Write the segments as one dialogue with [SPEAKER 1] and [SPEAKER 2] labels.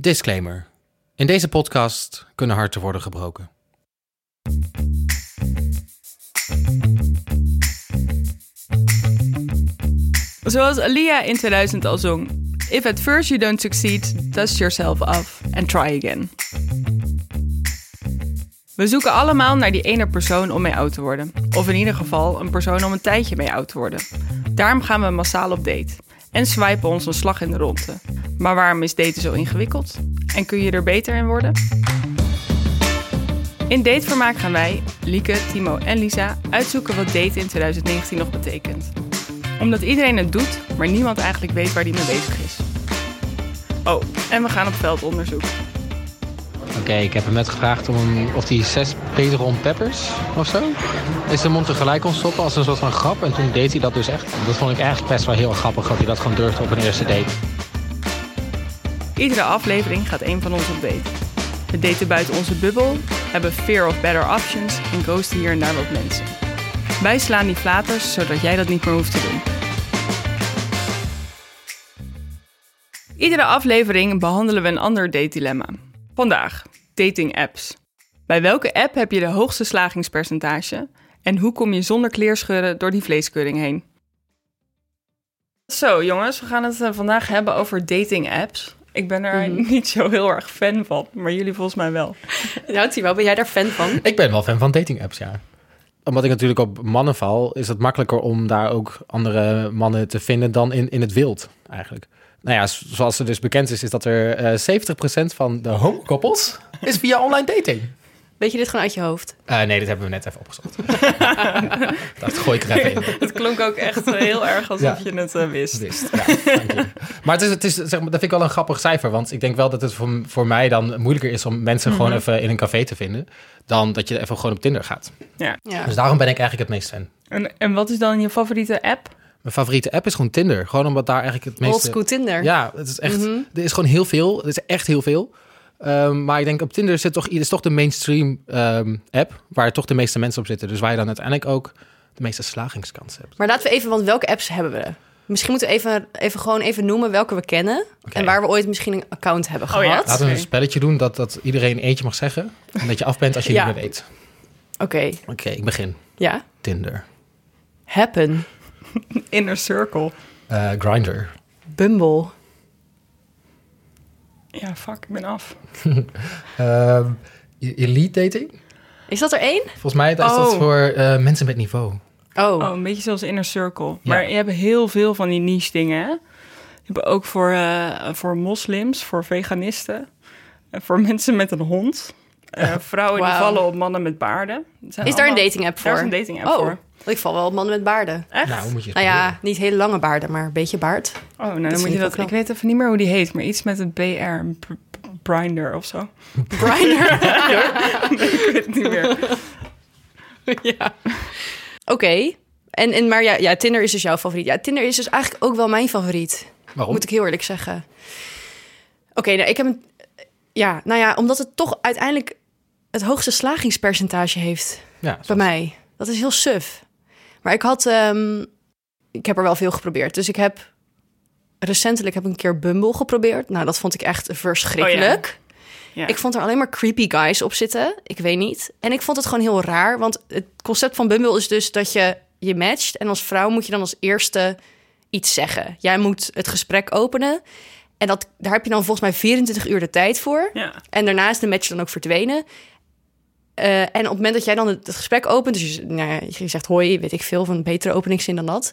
[SPEAKER 1] Disclaimer. In deze podcast kunnen harten worden gebroken.
[SPEAKER 2] Zoals Alia in 2000 al zong. If at first you don't succeed, dust yourself off and try again. We zoeken allemaal naar die ene persoon om mee oud te worden. Of in ieder geval een persoon om een tijdje mee oud te worden. Daarom gaan we massaal op date. En swipen ons een slag in de ronde. Maar waarom is daten zo ingewikkeld? En kun je er beter in worden? In Datevermaak gaan wij, Lieke, Timo en Lisa, uitzoeken wat daten in 2019 nog betekent omdat iedereen het doet, maar niemand eigenlijk weet waar die mee bezig is. Oh, en we gaan op veldonderzoek.
[SPEAKER 1] Oké, ik heb hem net gevraagd om, of hij zes Pedron Peppers of zo in zijn mond tegelijk kon stoppen als een soort van grap. En toen deed hij dat dus echt. Dat vond ik eigenlijk best wel heel grappig dat hij dat gewoon durfde op een eerste date.
[SPEAKER 2] Iedere aflevering gaat een van ons op date. We daten buiten onze bubbel, hebben fear of better options en ghosten hier en daar wat mensen. Wij slaan die flaters zodat jij dat niet meer hoeft te doen. Iedere aflevering behandelen we een ander datedilemma. Vandaag, dating apps. Bij welke app heb je de hoogste slagingspercentage? En hoe kom je zonder kleerscheuren door die vleeskeuring heen? Zo jongens, we gaan het eh, vandaag hebben over dating apps. Ik ben er
[SPEAKER 3] Mhm.
[SPEAKER 2] niet zo heel erg fan van, maar jullie volgens mij wel.
[SPEAKER 3] Nou, Timo, ben jij daar fan van?
[SPEAKER 1] Ik ben wel fan van dating apps, ja. Omdat ik natuurlijk op mannen val, is het makkelijker om daar ook andere mannen te vinden dan in, in het wild eigenlijk. Nou ja, z- zoals er dus bekend is, is dat er eh 70% van de homokoppels is via online dating.
[SPEAKER 3] Weet je dit gewoon uit je hoofd?
[SPEAKER 1] Eh, nee, dat hebben we net even opgezocht. dat gooi ik er even in.
[SPEAKER 2] Het klonk ook echt eh, heel erg alsof
[SPEAKER 1] Ja.
[SPEAKER 2] je het eh, wist.
[SPEAKER 1] Wist, ja, dank je. maar het is, het is, zeg maar, dat vind ik wel een grappig cijfer. Want ik denk wel dat het voor, voor mij dan moeilijker is om mensen gewoon even in een café te vinden. Dan dat je even gewoon op Tinder gaat.
[SPEAKER 3] Ja.
[SPEAKER 1] Dus daarom ben ik eigenlijk het meest fan.
[SPEAKER 2] En, en wat is dan je favoriete app?
[SPEAKER 1] Mijn favoriete app is gewoon Tinder. Gewoon omdat daar eigenlijk het meeste...
[SPEAKER 3] Old school Tinder.
[SPEAKER 1] Ja, het is echt, er is gewoon heel veel. Er is echt heel veel. Ehm, maar ik denk op Tinder zit toch, is toch de mainstream ehm, app waar toch de meeste mensen op zitten. Dus waar je dan uiteindelijk ook de meeste slagingskansen hebt.
[SPEAKER 3] Maar laten we even, want welke apps hebben we? Misschien moeten we even, even gewoon even noemen welke we kennen. En waar we ooit misschien een account hebben
[SPEAKER 2] Oh ja.
[SPEAKER 3] gehad.
[SPEAKER 1] Laten we een
[SPEAKER 2] Oké.
[SPEAKER 1] spelletje doen dat, dat iedereen eentje mag zeggen. En dat je af bent als je het
[SPEAKER 3] Ja.
[SPEAKER 1] niet meer weet.
[SPEAKER 3] Oké,
[SPEAKER 1] Oké, ik begin.
[SPEAKER 3] ja.
[SPEAKER 1] Tinder.
[SPEAKER 3] Happen,
[SPEAKER 2] Inner Circle.
[SPEAKER 1] Eh Grindr.
[SPEAKER 3] Bumble,
[SPEAKER 2] Ja, fuck, ik ben af.
[SPEAKER 1] Ehm, e- elite dating.
[SPEAKER 3] is dat er één?
[SPEAKER 1] Volgens mij is dat
[SPEAKER 2] Oh.
[SPEAKER 1] voor eh, mensen met niveau.
[SPEAKER 3] Oh,
[SPEAKER 2] Oh, een beetje zoals Inner Circle. Maar je hebt heel veel van die niche dingen, hè? Je hebt ook voor, eh, voor moslims, voor veganisten, en voor mensen met een hond. eh, vrouwen die
[SPEAKER 3] Wauw.
[SPEAKER 2] vallen op mannen met baarden. Dat zijn
[SPEAKER 3] is daar een
[SPEAKER 2] allemaal-
[SPEAKER 3] dating app voor?
[SPEAKER 2] Daar is een dating app
[SPEAKER 3] oh,
[SPEAKER 2] voor.
[SPEAKER 3] want ik val wel op mannen met baarden.
[SPEAKER 2] Echt?
[SPEAKER 1] Nou, moet je eens
[SPEAKER 3] Nou
[SPEAKER 1] proberen.
[SPEAKER 3] ja, niet hele lange baarden, maar een beetje baard.
[SPEAKER 2] oh, nou,
[SPEAKER 3] is
[SPEAKER 2] dan moet
[SPEAKER 3] in
[SPEAKER 2] je
[SPEAKER 3] ieder
[SPEAKER 2] dat...
[SPEAKER 3] geval
[SPEAKER 2] Ik weet even niet meer hoe die heet, maar iets met het BR. Brinder of zo.
[SPEAKER 3] Grindr.
[SPEAKER 2] ik weet het niet meer.
[SPEAKER 3] ja. Oké. En, en, maar ja, ja, Tinder is dus jouw favoriet. Ja, Tinder is dus eigenlijk ook wel mijn favoriet.
[SPEAKER 1] Waarom?
[SPEAKER 3] Moet ik heel eerlijk zeggen. Oké, nou, ik heb een. Ja, nou ja, omdat het toch uiteindelijk het hoogste slagingspercentage heeft
[SPEAKER 1] Ja,
[SPEAKER 3] bij mij. Dat is heel suf. Maar ik had. ehm, ik heb er wel veel geprobeerd. Dus ik heb. Recentelijk heb ik een keer Bumble geprobeerd. Nou, dat vond ik echt verschrikkelijk.
[SPEAKER 2] Ja.
[SPEAKER 3] Ik vond er alleen maar creepy guys op zitten. Ik weet niet. En ik vond het gewoon heel raar. Want het concept van Bumble is dus dat je je matcht. En als vrouw moet je dan als eerste iets zeggen. Jij moet het gesprek openen. En dat, daar heb je dan volgens mij 24 uur de tijd voor.
[SPEAKER 2] ja.
[SPEAKER 3] En daarna is de match dan ook verdwenen. Eh, en op het moment dat jij dan het, het gesprek opent, dus je, nou ja, je zegt hoi, weet ik veel, van een betere openingszin dan dat.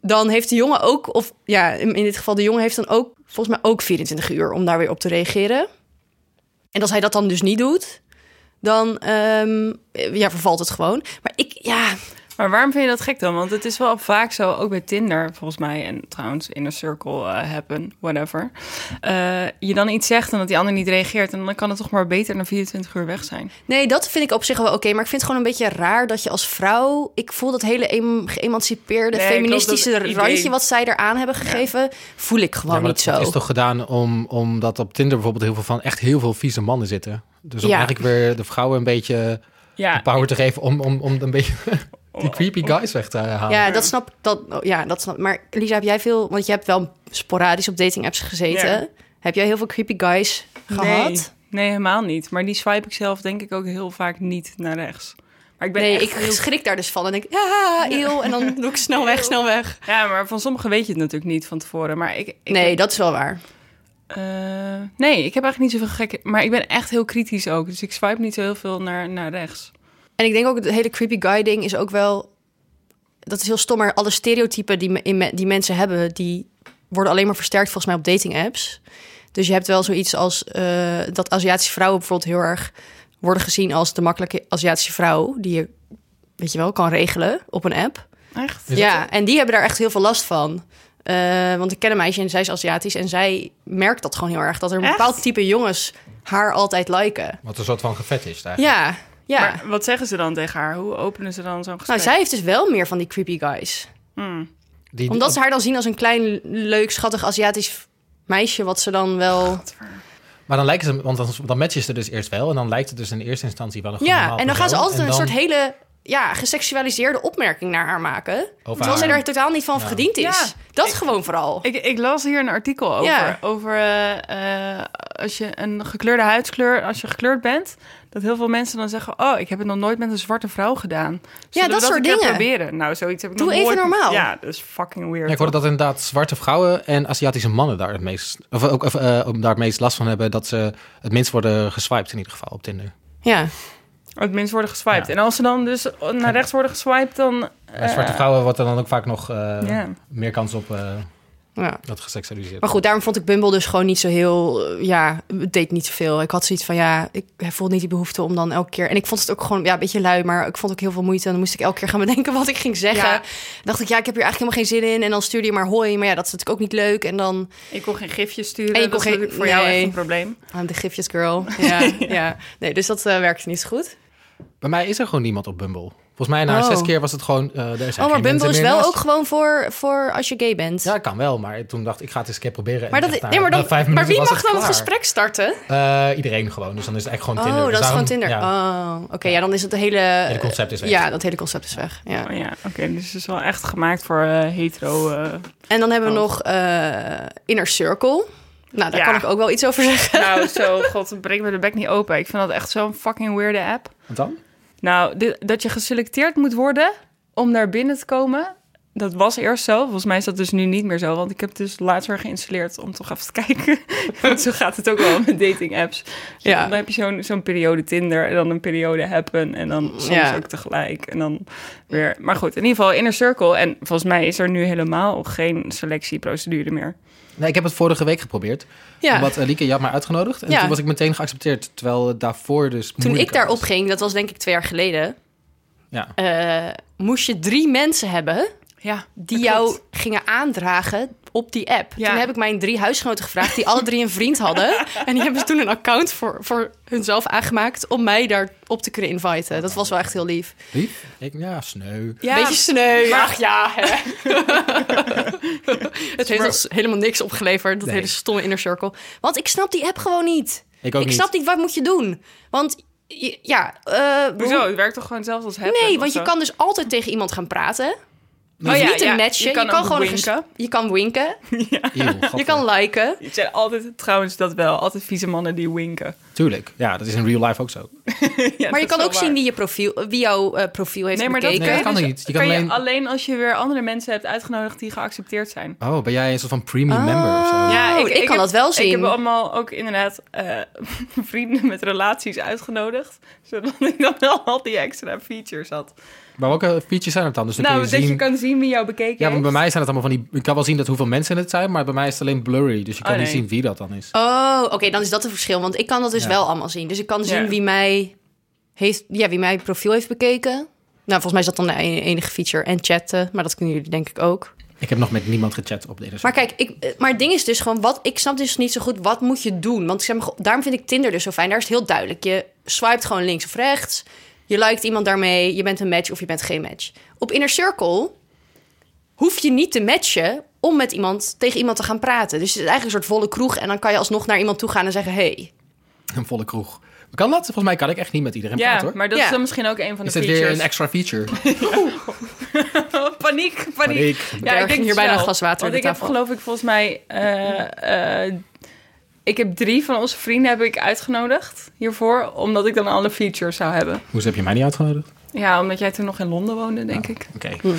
[SPEAKER 3] Dan heeft de jongen ook, of ja, in in dit geval de jongen heeft dan ook, volgens mij ook 24 uur om daar weer op te reageren. En als hij dat dan dus niet doet, dan ehm, ja, vervalt het gewoon. Maar ik, ja,
[SPEAKER 2] Maar waarom vind je dat gek dan? Want het is wel vaak zo, ook bij Tinder volgens mij... en trouwens Inner Circle, eh, Happen, whatever... eh, je dan iets zegt en dat die ander niet reageert... en dan kan het toch maar beter dan 24 uur weg zijn.
[SPEAKER 3] Nee, dat vind ik op zich wel oké. maar ik vind het gewoon een beetje raar dat je als vrouw... Ik voel dat hele em- geëmancipeerde,
[SPEAKER 2] Nee, ik geloof
[SPEAKER 3] feministische
[SPEAKER 2] dat idee.
[SPEAKER 3] randje... wat zij eraan hebben gegeven, voel ik gewoon
[SPEAKER 1] Ja, maar
[SPEAKER 3] niet
[SPEAKER 1] dat-
[SPEAKER 3] zo.
[SPEAKER 1] dat is toch gedaan om, omdat op Tinder bijvoorbeeld heel veel van echt heel veel vieze mannen zitten. Dus om
[SPEAKER 3] Ja.
[SPEAKER 1] eigenlijk weer de vrouwen een beetje de
[SPEAKER 2] Ja,
[SPEAKER 1] power te geven om, om, om een beetje die creepy guys weg te halen.
[SPEAKER 3] Ja, dat snap, dat, oh, ja, dat snap Maar Lisa, heb jij veel... Want je hebt wel sporadisch op dating apps gezeten. Heb jij heel veel creepy guys gehad?
[SPEAKER 2] Nee, nee, helemaal niet. Maar die swipe ik zelf denk ik ook heel vaak niet naar rechts. Maar ik ben
[SPEAKER 3] nee,
[SPEAKER 2] echt
[SPEAKER 3] ik
[SPEAKER 2] heel...
[SPEAKER 3] schrik daar dus van en denk, ja, eeuw. En dan doe ik snel weg, snel weg.
[SPEAKER 2] Ja, maar van sommigen weet je het natuurlijk niet van tevoren. Maar ik, ik
[SPEAKER 3] Nee, dat is wel waar.
[SPEAKER 2] Eh, nee, ik heb eigenlijk niet zoveel gekke... Maar ik ben echt heel kritisch ook. Dus ik swipe niet zo heel veel naar, naar rechts.
[SPEAKER 3] En ik denk ook, het hele creepy guy ding is ook wel... Dat is heel stom, maar alle stereotypen die, me- in me- die mensen hebben... die worden alleen maar versterkt volgens mij op dating apps. Dus je hebt wel zoiets als eh, dat Aziatische vrouwen bijvoorbeeld heel erg... worden gezien als de makkelijke Aziatische vrouw... die je, weet je wel, kan regelen op een app.
[SPEAKER 2] Echt?
[SPEAKER 1] Is
[SPEAKER 3] ja, en die hebben daar echt heel veel last van. Eh, want ik ken een meisje en zij is Aziatisch... en zij merkt dat gewoon heel erg. Dat er een
[SPEAKER 2] Echt?
[SPEAKER 3] bepaald type jongens haar altijd liken.
[SPEAKER 1] Wat een soort van gevet is daar.
[SPEAKER 3] Ja, ja.
[SPEAKER 2] Maar wat zeggen ze dan tegen haar? Hoe openen ze dan zo'n gesprek?
[SPEAKER 3] Nou, zij heeft dus wel meer van die creepy guys.
[SPEAKER 2] Hmm.
[SPEAKER 1] Die,
[SPEAKER 3] Omdat ze haar dan zien als een klein, leuk, schattig Aziatisch meisje, wat ze dan wel.
[SPEAKER 1] Maar dan lijken ze, want dan, dan matchen ze dus eerst wel. En dan lijkt het dus in eerste instantie wel een goed
[SPEAKER 3] Ja,
[SPEAKER 1] normaal
[SPEAKER 3] en dan gaan ze
[SPEAKER 1] persoon.
[SPEAKER 3] altijd
[SPEAKER 1] En
[SPEAKER 3] een
[SPEAKER 1] dan
[SPEAKER 3] soort hele ja, geseksualiseerde opmerking naar haar maken.
[SPEAKER 1] over
[SPEAKER 3] terwijl zij
[SPEAKER 1] haar.
[SPEAKER 3] daar totaal niet van
[SPEAKER 1] Ja.
[SPEAKER 3] verdiend is.
[SPEAKER 2] Ja.
[SPEAKER 3] Dat gewoon vooral.
[SPEAKER 2] Ik, ik las hier een artikel over.
[SPEAKER 3] Ja.
[SPEAKER 2] Over eh, eh, als je een gekleurde huidskleur, als je gekleurd bent, dat heel veel mensen dan zeggen: Oh, ik heb het nog nooit met een zwarte vrouw gedaan. Zullen we
[SPEAKER 3] dat soort
[SPEAKER 2] een keer
[SPEAKER 3] dingen.
[SPEAKER 2] proberen. Nou, zoiets heb ik
[SPEAKER 3] Doe
[SPEAKER 2] nog
[SPEAKER 3] even
[SPEAKER 2] nooit-
[SPEAKER 3] normaal.
[SPEAKER 2] Ja, dat is fucking weird.
[SPEAKER 1] Ja, ik hoorde dat inderdaad zwarte vrouwen en Aziatische mannen daar het meest, of ook, of, eh, om daar het meest last van hebben. Dat ze het minst worden geswiped in ieder geval op Tinder.
[SPEAKER 3] Ja.
[SPEAKER 2] Het minst worden geswiped.
[SPEAKER 1] Ja.
[SPEAKER 2] En als ze dan dus naar rechts worden geswiped, dan.
[SPEAKER 1] Bij zwarte
[SPEAKER 2] eh,
[SPEAKER 1] vrouwen wordt er dan ook vaak nog eh,
[SPEAKER 2] Ja.
[SPEAKER 1] meer kans op eh,
[SPEAKER 3] ja.
[SPEAKER 1] dat geseksualiseerd.
[SPEAKER 3] Maar goed, daarom vond ik Bumble dus gewoon niet zo heel. eh, Ja, het deed niet zoveel. Ik had zoiets van ja, ik voelde niet die behoefte om dan elke keer. En ik vond het ook gewoon ja, een beetje lui, maar ik vond ook heel veel moeite. En dan moest ik elke keer gaan bedenken wat ik ging zeggen.
[SPEAKER 2] Ja.
[SPEAKER 3] dacht ik, ja, ik heb hier eigenlijk helemaal geen zin in. En dan stuurde je maar hoi. Maar ja, dat is natuurlijk ook niet leuk. En dan
[SPEAKER 2] Ik kon geen gifjes sturen.
[SPEAKER 3] En je
[SPEAKER 2] dat
[SPEAKER 3] kon
[SPEAKER 2] is
[SPEAKER 3] geen-
[SPEAKER 2] natuurlijk voor jou
[SPEAKER 3] nee.
[SPEAKER 2] echt een probleem.
[SPEAKER 3] I'm the ah, gifjes girl. Ja, ja. Nee, dus dat eh, werkte niet zo goed.
[SPEAKER 1] Bij mij is er gewoon niemand op Bumble. Volgens mij na
[SPEAKER 3] Oh.
[SPEAKER 1] zes keer was het gewoon. eh er zijn
[SPEAKER 3] oh, maar
[SPEAKER 1] geen
[SPEAKER 3] Bumble
[SPEAKER 1] mensen
[SPEAKER 3] is
[SPEAKER 1] meer
[SPEAKER 3] wel
[SPEAKER 1] naast.
[SPEAKER 3] ook gewoon voor, voor als je gay bent.
[SPEAKER 1] Ja, kan wel, maar toen dacht ik, ik ga het eens een keer proberen. En
[SPEAKER 3] maar, dat,
[SPEAKER 1] echt na-
[SPEAKER 3] nee, maar,
[SPEAKER 1] na
[SPEAKER 3] dan,
[SPEAKER 1] vijf
[SPEAKER 3] maar
[SPEAKER 1] minuten
[SPEAKER 3] wie mag
[SPEAKER 1] was
[SPEAKER 3] dan het
[SPEAKER 1] klaar.
[SPEAKER 3] gesprek starten?
[SPEAKER 1] Eh, iedereen gewoon, dus dan is het eigenlijk gewoon Tinder.
[SPEAKER 3] oh,
[SPEAKER 1] Dus
[SPEAKER 3] dat is gewoon
[SPEAKER 1] daarom-
[SPEAKER 3] Tinder.
[SPEAKER 1] ja.
[SPEAKER 3] Oh, oké. ja, dan is het hele...
[SPEAKER 1] hele concept is weg.
[SPEAKER 3] Ja, dat hele concept is weg. Ja.
[SPEAKER 2] Oh, ja, oké. dus het is wel echt gemaakt voor eh, hetero. eh.
[SPEAKER 3] En dan hebben we
[SPEAKER 2] Oh.
[SPEAKER 3] nog eh, Inner Circle. Nou, daar
[SPEAKER 2] Ja.
[SPEAKER 3] kan ik ook wel iets over zeggen.
[SPEAKER 2] nou, zo, god, breng me de bek niet open. Ik vind dat echt zo'n fucking weirde app.
[SPEAKER 1] Wat dan?
[SPEAKER 2] Nou, dit- dat je geselecteerd moet worden om daar binnen te komen. Dat was eerst zo. Volgens mij is dat dus nu niet meer zo. Want ik heb het dus later geïnstalleerd om toch even te kijken. want zo gaat het ook wel met dating apps.
[SPEAKER 3] Ja.
[SPEAKER 2] Dan heb je zo'n zo'n periode Tinder en dan een periode Happen. En dan soms
[SPEAKER 3] Ja.
[SPEAKER 2] ook tegelijk. En dan weer. Maar goed, in ieder geval Inner Circle. En volgens mij is er nu helemaal geen selectieprocedure meer.
[SPEAKER 1] Nee, ik heb het vorige week geprobeerd.
[SPEAKER 3] Ja.
[SPEAKER 1] Omdat eh, Lieke, je had mij uitgenodigd. En
[SPEAKER 3] Ja.
[SPEAKER 1] toen was ik meteen geaccepteerd. Terwijl het daarvoor dus
[SPEAKER 3] Toen ik
[SPEAKER 1] moeilijker
[SPEAKER 3] daarop
[SPEAKER 1] was.
[SPEAKER 3] ging, dat was denk ik twee jaar geleden...
[SPEAKER 1] Ja.
[SPEAKER 3] eh, moest je drie mensen hebben...
[SPEAKER 2] Ja,
[SPEAKER 3] die jou gingen aandragen op die app.
[SPEAKER 2] Ja.
[SPEAKER 3] Toen heb ik mijn drie huisgenoten gevraagd, die alle drie een vriend hadden. En die hebben ze toen een account voor, voor hunzelf aangemaakt om mij daarop te kunnen inviten. Dat was wel echt heel lief.
[SPEAKER 1] Lief? Ik, ja, sneu.
[SPEAKER 2] Ja,
[SPEAKER 3] Beetje sneu.
[SPEAKER 2] maar-
[SPEAKER 3] Ach ja, hè. Het heeft
[SPEAKER 2] Maar-
[SPEAKER 3] ons helemaal niks opgeleverd, dat
[SPEAKER 1] Nee.
[SPEAKER 3] hele stomme inner circle. Want ik snap die app gewoon niet.
[SPEAKER 1] Ik ook
[SPEAKER 3] ik
[SPEAKER 1] niet.
[SPEAKER 3] snap niet, wat moet je doen? Want je- ja... eh,
[SPEAKER 2] Hoezo?
[SPEAKER 3] hoe-
[SPEAKER 2] Het werkt toch gewoon zelfs als Happen?
[SPEAKER 3] Nee,
[SPEAKER 2] of
[SPEAKER 3] want je
[SPEAKER 2] zo?
[SPEAKER 3] kan dus altijd tegen iemand gaan praten.
[SPEAKER 2] Oh ja,
[SPEAKER 3] niet te
[SPEAKER 2] ja,
[SPEAKER 3] matchen. Je kan,
[SPEAKER 2] ook
[SPEAKER 3] gewoon een
[SPEAKER 2] winken.
[SPEAKER 3] ges- je kan winken.
[SPEAKER 1] Eeuw,
[SPEAKER 3] Je
[SPEAKER 1] gadver.
[SPEAKER 3] kan liken.
[SPEAKER 2] Het zijn altijd, trouwens, dat wel. Altijd vieze mannen die winken.
[SPEAKER 1] Tuurlijk. Ja, dat is in real life ook zo.
[SPEAKER 2] Ja,
[SPEAKER 3] maar je
[SPEAKER 2] dat
[SPEAKER 3] kan
[SPEAKER 2] is
[SPEAKER 3] ook
[SPEAKER 2] wel
[SPEAKER 3] zien
[SPEAKER 2] waar.
[SPEAKER 3] wie, je profiel, wie jouw eh, profiel heeft
[SPEAKER 2] Nee, maar dat,
[SPEAKER 3] bekeken.
[SPEAKER 1] Nee,
[SPEAKER 2] kan,
[SPEAKER 1] dat kan
[SPEAKER 2] je dus-
[SPEAKER 1] niet. Je kan
[SPEAKER 2] je
[SPEAKER 1] alleen-
[SPEAKER 2] alleen als je weer andere mensen hebt uitgenodigd die geaccepteerd zijn.
[SPEAKER 1] Oh, ben jij een soort van premium member of zo?
[SPEAKER 3] Ja. Oh, ik kan
[SPEAKER 2] heb-
[SPEAKER 3] dat wel zien.
[SPEAKER 2] Ik heb allemaal ook inderdaad eh, vrienden met relaties uitgenodigd. Zodat ik dan wel al die extra features had.
[SPEAKER 1] Maar welke features zijn het dan? Dus dan
[SPEAKER 2] nou,
[SPEAKER 1] kun je
[SPEAKER 2] dat
[SPEAKER 1] zien...
[SPEAKER 2] je kan zien wie jou bekeken
[SPEAKER 1] Ja, want bij
[SPEAKER 2] heeft.
[SPEAKER 1] mij zijn het allemaal van die... Ik kan wel zien dat hoeveel mensen het zijn, maar bij mij is het alleen blurry. Dus je kan
[SPEAKER 2] Oh,
[SPEAKER 1] niet
[SPEAKER 2] nee.
[SPEAKER 1] zien wie dat dan is.
[SPEAKER 3] Oh, oké, dan is dat het verschil. Want ik kan dat dus
[SPEAKER 1] Ja.
[SPEAKER 3] wel allemaal zien. Dus ik kan zien
[SPEAKER 2] Ja.
[SPEAKER 3] wie, mij heeft, ja, wie mijn profiel heeft bekeken. Nou, volgens mij is dat dan de e- enige feature. En chatten, maar dat kunnen jullie denk ik ook.
[SPEAKER 1] Ik heb nog met niemand gechat op de Insta.
[SPEAKER 3] Maar kijk, ik, eh, maar het ding is dus gewoon... Wat, ik snap dus niet zo goed, wat moet je doen? Want ik zeg maar, go- daarom vind ik Tinder dus zo fijn. Daar is het heel duidelijk. Je swipet gewoon links of rechts. Je liked iemand daarmee. Je bent een match of je bent geen match. Op Inner Circle hoef je niet te matchen om met iemand tegen iemand te gaan praten. Dus het is eigenlijk een soort volle kroeg. En dan kan je alsnog naar iemand toe gaan en zeggen... Hey,
[SPEAKER 1] Een volle kroeg. Kan dat? Volgens mij kan ik echt niet met iedereen
[SPEAKER 2] Ja,
[SPEAKER 1] praten, hoor.
[SPEAKER 2] maar dat
[SPEAKER 3] Ja.
[SPEAKER 2] is dan misschien ook een van de
[SPEAKER 1] Is dit weer
[SPEAKER 2] features.
[SPEAKER 1] een extra feature?
[SPEAKER 2] paniek, paniek.
[SPEAKER 1] Paniek.
[SPEAKER 2] Ja,
[SPEAKER 3] Er
[SPEAKER 2] ik
[SPEAKER 3] ging
[SPEAKER 2] denk
[SPEAKER 3] hier
[SPEAKER 2] het
[SPEAKER 3] bijna
[SPEAKER 2] wel.
[SPEAKER 3] een glas water
[SPEAKER 2] Want
[SPEAKER 3] op
[SPEAKER 2] ik
[SPEAKER 3] de
[SPEAKER 2] heb
[SPEAKER 3] tafel.
[SPEAKER 2] geloof ik volgens mij eh, eh, Ik heb drie van onze vrienden heb ik uitgenodigd hiervoor, omdat ik dan alle features zou hebben.
[SPEAKER 1] Hoezo heb je mij niet uitgenodigd?
[SPEAKER 2] Ja, omdat jij toen nog in Londen woonde, denk ik.
[SPEAKER 1] Oké.
[SPEAKER 3] Oké,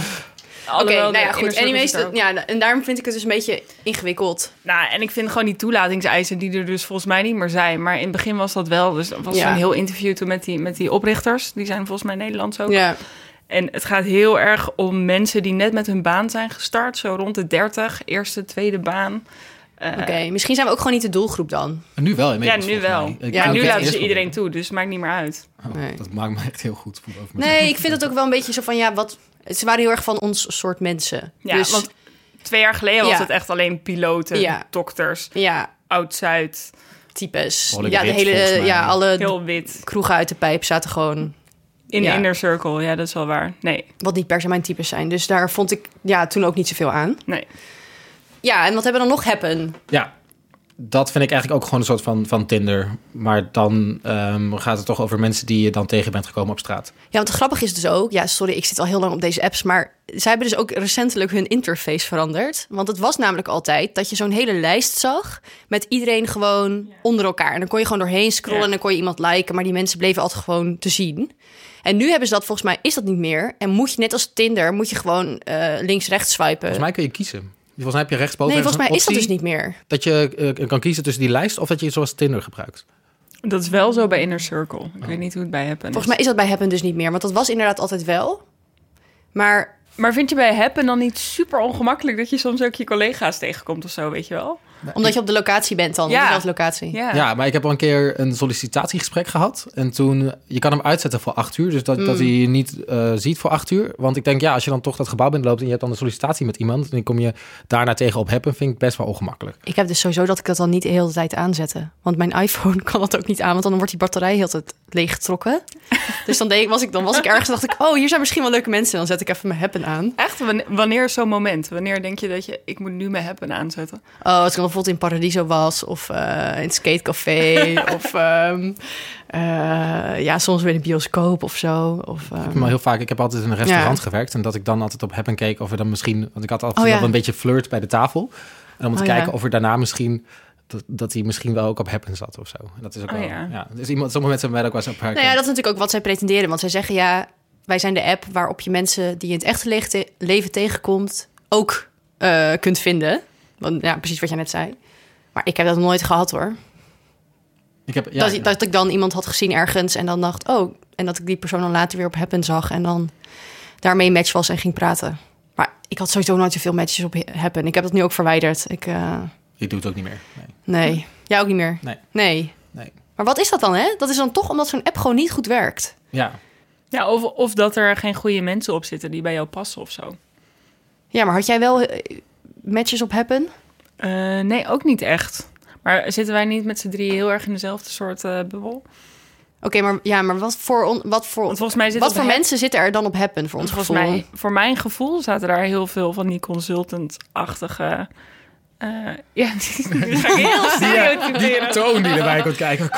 [SPEAKER 2] Alhoewel,
[SPEAKER 3] nou
[SPEAKER 2] de
[SPEAKER 3] ja,
[SPEAKER 2] inner
[SPEAKER 3] goed.
[SPEAKER 2] circle
[SPEAKER 3] Anyway,
[SPEAKER 2] zit er ook.
[SPEAKER 3] ja, en daarom vind ik het dus een beetje ingewikkeld.
[SPEAKER 2] Nou, en ik vind gewoon die toelatingseisen die er dus volgens mij niet meer zijn. Maar in het begin was dat wel. Dus er was
[SPEAKER 3] Ja.
[SPEAKER 2] een heel interview toen met die, met die oprichters. Die zijn volgens mij Nederlands ook.
[SPEAKER 3] Ja.
[SPEAKER 2] En het gaat heel erg om mensen die net met hun baan zijn gestart. Zo rond de 30, eerste, tweede baan. Eh,
[SPEAKER 3] Oké, misschien zijn we ook gewoon niet de doelgroep dan.
[SPEAKER 4] Nu wel
[SPEAKER 2] Ja,
[SPEAKER 4] inmiddels.
[SPEAKER 2] nu
[SPEAKER 4] volgens
[SPEAKER 2] wel.
[SPEAKER 4] mij. Ik-
[SPEAKER 3] Ja,
[SPEAKER 4] ik-
[SPEAKER 2] En nu
[SPEAKER 4] ik-
[SPEAKER 2] laten
[SPEAKER 4] eerst-
[SPEAKER 2] ze iedereen toe, dus het maakt niet meer uit.
[SPEAKER 4] Oh,
[SPEAKER 3] Nee.
[SPEAKER 4] Dat maakt me echt heel goed. voelen Over mezelf.
[SPEAKER 3] Nee, ik vind het ook wel een beetje zo van, ja, wat... Ze waren heel erg van ons soort mensen.
[SPEAKER 2] Ja,
[SPEAKER 3] dus,
[SPEAKER 2] want twee jaar geleden
[SPEAKER 3] Ja.
[SPEAKER 2] was het echt alleen piloten,
[SPEAKER 3] Ja.
[SPEAKER 2] dokters,
[SPEAKER 3] ja,
[SPEAKER 2] oud-Zuid,
[SPEAKER 3] types.
[SPEAKER 4] Behoorlijk
[SPEAKER 3] Ja, de
[SPEAKER 4] wit, volgens
[SPEAKER 3] hele,
[SPEAKER 4] mij.
[SPEAKER 3] ja, alle
[SPEAKER 2] heel wit.
[SPEAKER 3] kroegen uit de pijp zaten gewoon...
[SPEAKER 2] In
[SPEAKER 3] Ja.
[SPEAKER 2] de inner circle, ja, dat is wel waar. Nee,
[SPEAKER 3] Wat niet per se mijn types zijn. Dus daar vond ik ja, toen ook niet zoveel aan.
[SPEAKER 2] nee.
[SPEAKER 3] Ja, en wat hebben we dan nog happen?
[SPEAKER 1] Ja, dat vind ik eigenlijk ook gewoon een soort van, van Tinder. Maar dan ehm, gaat het toch over mensen die je dan tegen bent gekomen op straat.
[SPEAKER 3] Ja, want het grappige is dus ook... Ja, sorry, ik zit al heel lang op deze apps... maar zij hebben dus ook recentelijk hun interface veranderd. Want het was namelijk altijd dat je zo'n hele lijst zag... met iedereen gewoon onder elkaar. En dan kon je gewoon doorheen scrollen
[SPEAKER 2] Ja.
[SPEAKER 3] en dan kon je iemand liken... maar die mensen bleven altijd gewoon te zien. En nu hebben ze dat volgens mij, is dat niet meer. En moet je net als Tinder, moet je gewoon eh, links-rechts swipen.
[SPEAKER 1] Volgens mij kun je kiezen. Volgens mij heb je rechtsboven
[SPEAKER 3] Nee, volgens mij
[SPEAKER 1] ergens
[SPEAKER 3] is dat
[SPEAKER 1] een
[SPEAKER 3] dus
[SPEAKER 1] optie
[SPEAKER 3] niet meer.
[SPEAKER 1] Dat je eh, kan kiezen tussen die lijst of dat je het zoals Tinder gebruikt.
[SPEAKER 2] Dat is wel zo bij inner circle.
[SPEAKER 4] Oh.
[SPEAKER 2] Ik weet niet hoe het bij hebben.
[SPEAKER 3] Volgens mij is dat bij Happen dus niet meer. Want dat was inderdaad altijd wel. Maar
[SPEAKER 2] Maar vind je bij Happen dan niet super ongemakkelijk dat je soms ook je collega's tegenkomt of zo, weet je wel?
[SPEAKER 3] omdat je op de locatie bent dan.
[SPEAKER 2] Ja.
[SPEAKER 3] Ja. Op de locatie.
[SPEAKER 2] Ja.
[SPEAKER 1] Ja, maar ik heb al een keer een sollicitatiegesprek gehad. En toen, je kan hem uitzetten voor acht uur. Dus dat, dat
[SPEAKER 3] Mm.
[SPEAKER 1] hij je niet eh, ziet voor acht uur. Want ik denk, ja, als je dan toch dat gebouw binnenloopt... en je hebt dan een sollicitatie met iemand... en dan kom je daarna tegen op hebben, vind ik best wel ongemakkelijk.
[SPEAKER 3] Ik heb dus sowieso dat ik dat dan niet de hele tijd aanzette. Want mijn iPhone kan dat ook niet aan. Want dan wordt die batterij heel de tijd leeggetrokken. dus dan, deed ik, was ik, dan was ik ergens en dacht ik... Oh, hier zijn misschien wel leuke mensen. Dan zet ik even mijn Happen aan.
[SPEAKER 2] Echt, Wan- wanneer is zo'n moment? Wanneer denk je dat je, ik moet nu mijn Happen aanzetten?
[SPEAKER 3] Oh, als ik dan bijvoorbeeld in Paradiso was. Of eh, in het skatecafé. of ehm, eh, ja, soms weer in de bioscoop of zo. Of, ehm,
[SPEAKER 1] Maar heel vaak, ik heb altijd in een restaurant
[SPEAKER 3] Ja.
[SPEAKER 1] gewerkt. En dat ik dan altijd op heb en keek of er dan misschien... Want ik had altijd
[SPEAKER 3] Oh, ja.
[SPEAKER 1] wel een beetje flirt bij de tafel. En om te
[SPEAKER 3] Oh,
[SPEAKER 1] kijken
[SPEAKER 3] ja.
[SPEAKER 1] of er daarna misschien... Dat, dat hij misschien wel ook op hebben zat of zo. En dat is ook
[SPEAKER 2] Oh,
[SPEAKER 1] wel...
[SPEAKER 2] ja.
[SPEAKER 1] Ja. Dus iemand, sommige mensen hebben mij ook wel eens op haar
[SPEAKER 3] Nou ja, dat is natuurlijk ook wat zij pretenderen. Want zij zeggen ja, wij zijn de app waarop je mensen die je in het echte le- te- leven tegenkomt ook eh, kunt vinden. Want ja, precies wat jij net zei. Maar ik heb dat nooit gehad hoor.
[SPEAKER 1] Ik heb, ja,
[SPEAKER 3] dat,
[SPEAKER 1] ja.
[SPEAKER 3] dat ik dan iemand had gezien ergens en dan dacht, oh, en dat ik die persoon dan later weer op Happen zag en dan daarmee een match was en ging praten. Maar ik had sowieso nooit zoveel matches op Happen. Ik heb dat nu ook verwijderd. Ik, eh,
[SPEAKER 1] Ik doe het ook niet meer. Nee.
[SPEAKER 3] nee. Jij ook niet meer?
[SPEAKER 1] Nee.
[SPEAKER 3] Nee.
[SPEAKER 1] Nee.
[SPEAKER 3] Maar wat is dat dan, hè? Dat is dan toch omdat zo'n app gewoon niet goed werkt.
[SPEAKER 1] Ja,
[SPEAKER 2] Ja, of, of dat er geen goede mensen op zitten die bij jou passen of zo.
[SPEAKER 3] Ja, maar had jij wel eh, matches op Happen?
[SPEAKER 2] Eh, nee, ook niet echt. Maar zitten wij niet met z'n drieën heel erg in dezelfde soort eh, bubbel?
[SPEAKER 3] Oké, maar, ja, maar wat voor, on- wat voor,
[SPEAKER 2] Want volgens mij zitten
[SPEAKER 3] wat
[SPEAKER 2] op
[SPEAKER 3] voor
[SPEAKER 2] Happen-
[SPEAKER 3] mensen zitten er dan op Happen voor ons
[SPEAKER 2] Want
[SPEAKER 3] gevoel?
[SPEAKER 2] volgens mij, voor mijn gevoel zaten daar heel veel van die consultant-achtige. eh, ja, die ga ik heel stereotyperen.
[SPEAKER 1] toon die erbij komt kijken.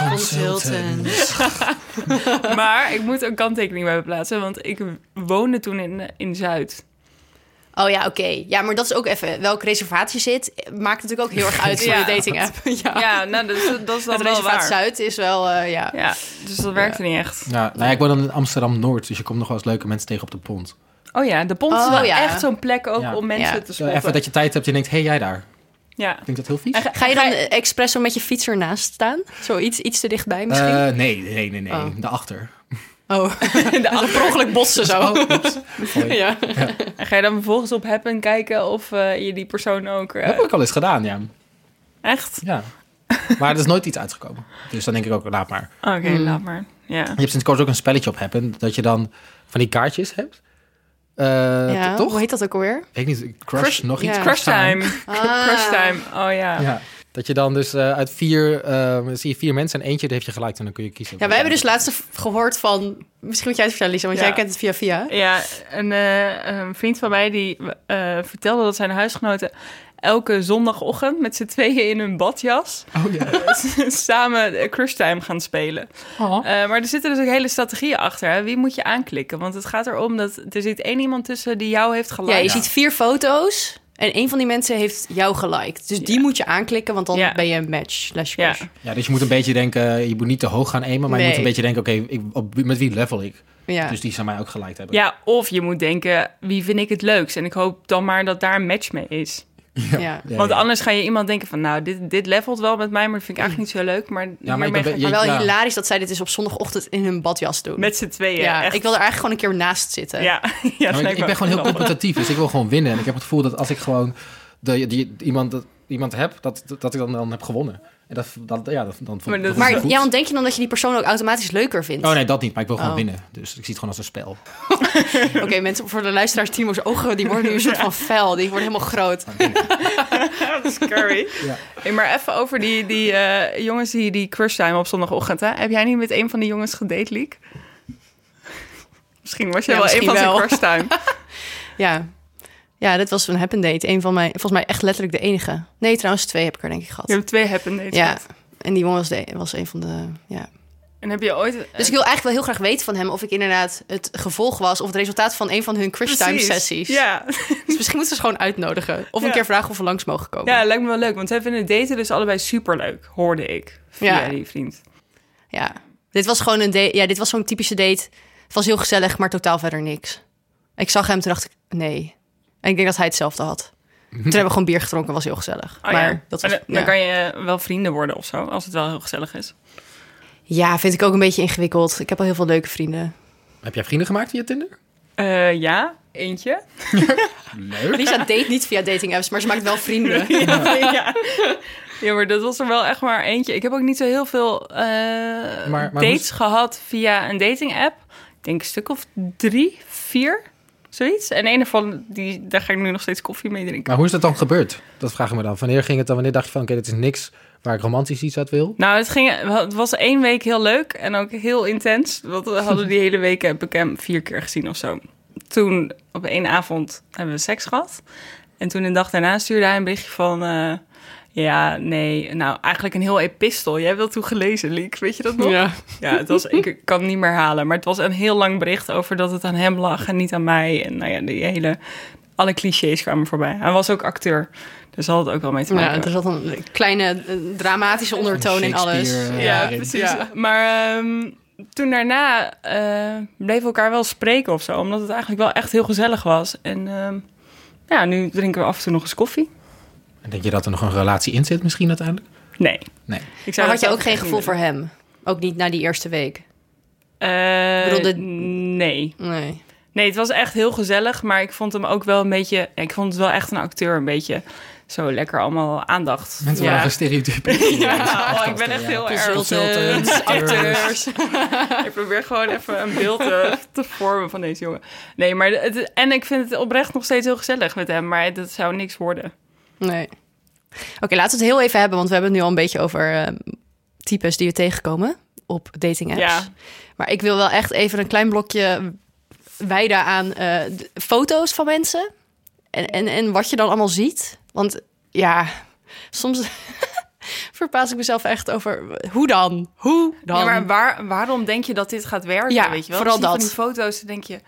[SPEAKER 2] Maar ik moet een kanttekening bij plaatsen, want ik woonde toen in, eh, in Zuid.
[SPEAKER 3] Oh ja, oké. Ja, maar dat is ook even welke reservatie zit. eh, Maakt natuurlijk ook heel erg uit voor
[SPEAKER 2] Ja.
[SPEAKER 3] je dating app. ja.
[SPEAKER 2] Ja, nou, dat, is- dat is dan
[SPEAKER 3] Het
[SPEAKER 2] wel
[SPEAKER 3] reservaat
[SPEAKER 2] waar.
[SPEAKER 3] Zuid is wel, eh, ja.
[SPEAKER 2] Ja, dus dat werkte niet echt.
[SPEAKER 1] Ja, nou ja, ik woon dan in Amsterdam-Noord, dus je komt nog wel eens leuke mensen tegen op de pont.
[SPEAKER 2] Oh ja, de pont is
[SPEAKER 3] Oh
[SPEAKER 2] wel
[SPEAKER 3] ja.
[SPEAKER 2] echt zo'n plek ook
[SPEAKER 1] Ja.
[SPEAKER 2] om mensen
[SPEAKER 3] Ja.
[SPEAKER 2] te spotten.
[SPEAKER 1] Even dat je tijd hebt en je denkt, hé hey, jij daar.
[SPEAKER 2] Ja.
[SPEAKER 1] Ik denk dat heel vies.
[SPEAKER 2] En ga-
[SPEAKER 3] Ga je dan eh, expres zo met je fiets ernaast staan? Zo iets, iets te dichtbij misschien?
[SPEAKER 1] Eh, nee, nee, nee, nee.
[SPEAKER 3] Oh.
[SPEAKER 1] Daarachter. Oh,
[SPEAKER 3] oh, de ongeluk bossen zo.
[SPEAKER 1] Hoi.
[SPEAKER 3] ja.
[SPEAKER 2] en ga je dan vervolgens op Happen kijken of eh, je die persoon ook... eh,
[SPEAKER 1] Dat heb ik al eens gedaan, ja.
[SPEAKER 2] Echt?
[SPEAKER 1] ja. Maar er is nooit iets uitgekomen. Dus dan denk ik ook, laat maar.
[SPEAKER 2] Oké,
[SPEAKER 3] Mm.
[SPEAKER 2] laat maar. Ja.
[SPEAKER 1] Je hebt sinds kort ook een spelletje op hebben, dat je dan van die kaartjes hebt. Eh,
[SPEAKER 3] ja.
[SPEAKER 1] t- Toch?
[SPEAKER 3] Hoe heet dat ook alweer?
[SPEAKER 1] Ik weet niet, crush,
[SPEAKER 3] Crush-
[SPEAKER 1] nog iets?
[SPEAKER 3] ja.
[SPEAKER 2] Crush time.
[SPEAKER 3] Ah.
[SPEAKER 2] Crush time. Oh ja.
[SPEAKER 1] Ja. Dat je dan dus eh, uit vier, eh, zie je vier mensen en eentje die heeft je gelijk en dan kun je kiezen.
[SPEAKER 3] Ja, wij hebben dus laatst gehoord van... Misschien moet jij het vertellen, Lisa, want
[SPEAKER 2] Ja.
[SPEAKER 3] jij kent het via via.
[SPEAKER 2] Ja, een, eh, een vriend van mij die eh, vertelde dat zijn huisgenoten elke zondagochtend met z'n tweeën in hun badjas
[SPEAKER 3] dus
[SPEAKER 1] Oh ja.
[SPEAKER 2] samen eh, Crush Time gaan spelen. Eh, maar er zitten dus ook hele strategieën achter. Hè? Wie moet je aanklikken? Want het gaat erom dat er zit één iemand tussen die jou heeft
[SPEAKER 3] Ja,
[SPEAKER 2] geliked.
[SPEAKER 3] je ziet vier foto's En een van die mensen heeft jou geliked. Dus die
[SPEAKER 2] Ja.
[SPEAKER 3] moet je aanklikken, want dan
[SPEAKER 2] Ja.
[SPEAKER 3] ben je een match. Slash
[SPEAKER 2] Ja.
[SPEAKER 3] crush.
[SPEAKER 1] Ja, dus je moet een beetje denken, je moet niet te hoog gaan aimen, maar je moet
[SPEAKER 3] Nee.
[SPEAKER 1] een beetje denken, oké, ik- op wie- met wie level ik?
[SPEAKER 3] Ja.
[SPEAKER 1] Dus die zou mij ook gelijk hebben.
[SPEAKER 2] Ja, of je moet denken, wie vind ik het leukst? En ik hoop dan maar dat daar een match mee is.
[SPEAKER 3] ja.
[SPEAKER 1] Ja,
[SPEAKER 2] Want
[SPEAKER 1] ja.
[SPEAKER 2] anders ga je iemand denken van, nou, dit, dit levelt wel met mij, maar dat vind ik eigenlijk niet zo leuk. Maar,
[SPEAKER 1] maar
[SPEAKER 2] hiermee
[SPEAKER 1] ik ben-
[SPEAKER 2] ga ik
[SPEAKER 1] je-
[SPEAKER 3] Maar wel
[SPEAKER 1] Ja.
[SPEAKER 3] hilarisch dat zij dit dus op zondagochtend in hun badjas doen.
[SPEAKER 2] met z'n tweeën.
[SPEAKER 3] ja,
[SPEAKER 2] echt.
[SPEAKER 3] ik wil er eigenlijk gewoon een keer naast zitten.
[SPEAKER 2] Ja, ja,
[SPEAKER 1] Ja,
[SPEAKER 2] dat
[SPEAKER 1] maar
[SPEAKER 2] lijkt
[SPEAKER 1] Nou, ik,
[SPEAKER 2] me
[SPEAKER 1] ik ben gewoon heel
[SPEAKER 2] grappig.
[SPEAKER 1] competitief, dus ik wil gewoon winnen. En ik heb het gevoel dat als ik gewoon de, die, iemand, dat- iemand heb, dat, dat ik dan, dan heb gewonnen. En dat, dat, ja, dat, dan
[SPEAKER 2] Maar dat-
[SPEAKER 1] dat
[SPEAKER 3] Maar
[SPEAKER 1] goed.
[SPEAKER 3] ja, want denk je dan dat je die persoon ook automatisch leuker vindt?
[SPEAKER 1] Oh nee, dat niet, maar ik wil gewoon
[SPEAKER 3] Oh.
[SPEAKER 1] winnen. Dus ik zie het gewoon als een spel.
[SPEAKER 3] Oké, mensen, voor de luisteraars, Timo's ogen, die worden nu een soort van fel. Die worden helemaal groot.
[SPEAKER 2] Dat is scary.
[SPEAKER 1] Ja.
[SPEAKER 2] Hey, maar even over die, die eh, jongens die, die crush zijn op zondagochtend. Hè? Heb jij niet met een van die jongens gedate, Liek? Misschien was jij
[SPEAKER 3] Ja,
[SPEAKER 2] wel een
[SPEAKER 3] misschien
[SPEAKER 2] van zijn
[SPEAKER 3] wel.
[SPEAKER 2] crush time.
[SPEAKER 3] Ja. Ja, dit was een happen date. Een van mijn, volgens mij echt letterlijk de enige. Nee, trouwens, twee heb ik er denk ik gehad.
[SPEAKER 2] Je hebt twee happen dates
[SPEAKER 3] Ja.
[SPEAKER 2] gehad.
[SPEAKER 3] En die jongen was, de, was een van de. Ja.
[SPEAKER 2] En heb je ooit...
[SPEAKER 3] Dus ik wil eigenlijk wel heel graag weten van hem of ik inderdaad het gevolg was of het resultaat van een van hun crush time
[SPEAKER 2] Precies.
[SPEAKER 3] sessies.
[SPEAKER 2] Ja.
[SPEAKER 3] Dus misschien moeten we ze gewoon uitnodigen. Of een
[SPEAKER 2] Ja.
[SPEAKER 3] keer vragen of we langs mogen komen.
[SPEAKER 2] ja, lijkt me wel leuk. Want zij vinden daten dus allebei superleuk, hoorde ik. Via
[SPEAKER 3] Ja.
[SPEAKER 2] die vriend.
[SPEAKER 3] Ja. Dit was gewoon een date. Ja, dit was zo'n typische date. Het was heel gezellig, maar totaal verder niks. Ik zag hem, toen dacht ik, nee. En ik denk dat hij hetzelfde had. Toen hebben we gewoon bier gedronken, was heel gezellig.
[SPEAKER 2] Oh,
[SPEAKER 3] maar
[SPEAKER 2] ja.
[SPEAKER 3] dat
[SPEAKER 2] En
[SPEAKER 3] was,
[SPEAKER 2] dan, dan
[SPEAKER 3] ja.
[SPEAKER 2] kan je wel vrienden worden of zo, als het wel heel gezellig is.
[SPEAKER 3] ja, vind ik ook een beetje ingewikkeld. Ik heb al heel veel leuke vrienden.
[SPEAKER 5] Heb jij vrienden gemaakt via Tinder?
[SPEAKER 2] Eh, ja, eentje.
[SPEAKER 1] Leuk.
[SPEAKER 3] Lisa date niet via dating apps, maar ze maakt wel vrienden.
[SPEAKER 2] ja. ja. maar dat was er wel echt maar eentje. Ik heb ook niet zo heel veel eh,
[SPEAKER 5] maar hoe
[SPEAKER 2] dates
[SPEAKER 5] is-
[SPEAKER 2] gehad via een dating app. Ik denk een stuk of drie, vier, zoiets. En een ervan, die, daar ga ik nu nog steeds koffie mee drinken.
[SPEAKER 5] Maar hoe is dat dan gebeurd? Dat vraag ik me dan. Wanneer ging het dan? Wanneer dacht je van, oké, dit is niks waar ik romantisch iets uit wil?
[SPEAKER 2] Nou, het, ging, het was één week heel leuk en ook heel intens. Want we hadden die hele week, heb ik hem vier keer gezien of zo. Toen, op één avond, hebben we seks gehad. En toen een dag daarna stuurde hij een berichtje van... eh, ja, nee, nou, eigenlijk een heel epistel. Jij hebt dat toen gelezen, Liek, weet je dat nog?
[SPEAKER 3] Ja.
[SPEAKER 2] Ja, het was, ik kan het niet meer halen. Maar het was een heel lang bericht over dat het aan hem lag en niet aan mij. En nou ja, die hele... Alle clichés kwamen voorbij. Hij was ook acteur, dus had het ook wel mee te maken.
[SPEAKER 3] Ja, er zat een kleine eh, dramatische ondertoon in alles.
[SPEAKER 1] Shakespeare,
[SPEAKER 2] Ja,
[SPEAKER 1] eh, in.
[SPEAKER 2] precies.
[SPEAKER 3] Ja.
[SPEAKER 2] Maar ehm, toen daarna eh, bleven we elkaar wel spreken of zo. Omdat het eigenlijk wel echt heel gezellig was. En ehm, ja, nu drinken we af en toe nog eens koffie.
[SPEAKER 5] En denk je dat er nog een relatie in zit misschien uiteindelijk?
[SPEAKER 2] Nee.
[SPEAKER 5] Nee.
[SPEAKER 2] Ik
[SPEAKER 3] Maar
[SPEAKER 2] dat
[SPEAKER 3] had je
[SPEAKER 2] zelf
[SPEAKER 3] ook geen
[SPEAKER 2] echt
[SPEAKER 3] gevoel
[SPEAKER 2] niet
[SPEAKER 3] voor hem? Ook niet na die eerste week?
[SPEAKER 2] willen. Eh,
[SPEAKER 3] Ik bedoel, dit-
[SPEAKER 2] Nee.
[SPEAKER 3] Nee.
[SPEAKER 2] Nee, het was echt heel gezellig. Maar ik vond hem ook wel een beetje... Ik vond het wel echt een acteur. Een beetje zo lekker allemaal aandacht.
[SPEAKER 1] Mensen
[SPEAKER 3] Ja.
[SPEAKER 1] waren stereotypen.
[SPEAKER 2] Ja, oh, ik ben echt heel erg...
[SPEAKER 3] Consultants, acteurs.
[SPEAKER 2] Ik probeer gewoon even een beeld eh, te vormen van deze jongen. Nee, maar het, en ik vind het oprecht nog steeds heel gezellig met hem, maar dat zou niks worden.
[SPEAKER 3] Nee. Oké, laten we het heel even hebben, want we hebben het nu al een beetje over eh, types die we tegenkomen op dating apps.
[SPEAKER 2] Ja.
[SPEAKER 3] Maar ik wil wel echt even een klein blokje wijden aan eh, d- foto's van mensen en, en, en wat je dan allemaal ziet. Want ja, soms verbaas ik mezelf echt over eh, hoe dan? Hoe dan?
[SPEAKER 2] Ja, maar waar, waarom denk je dat dit gaat werken?
[SPEAKER 3] Ja,
[SPEAKER 2] weet je wel?
[SPEAKER 3] vooral
[SPEAKER 2] Zie je van
[SPEAKER 3] dat.
[SPEAKER 2] die foto's dan denk je,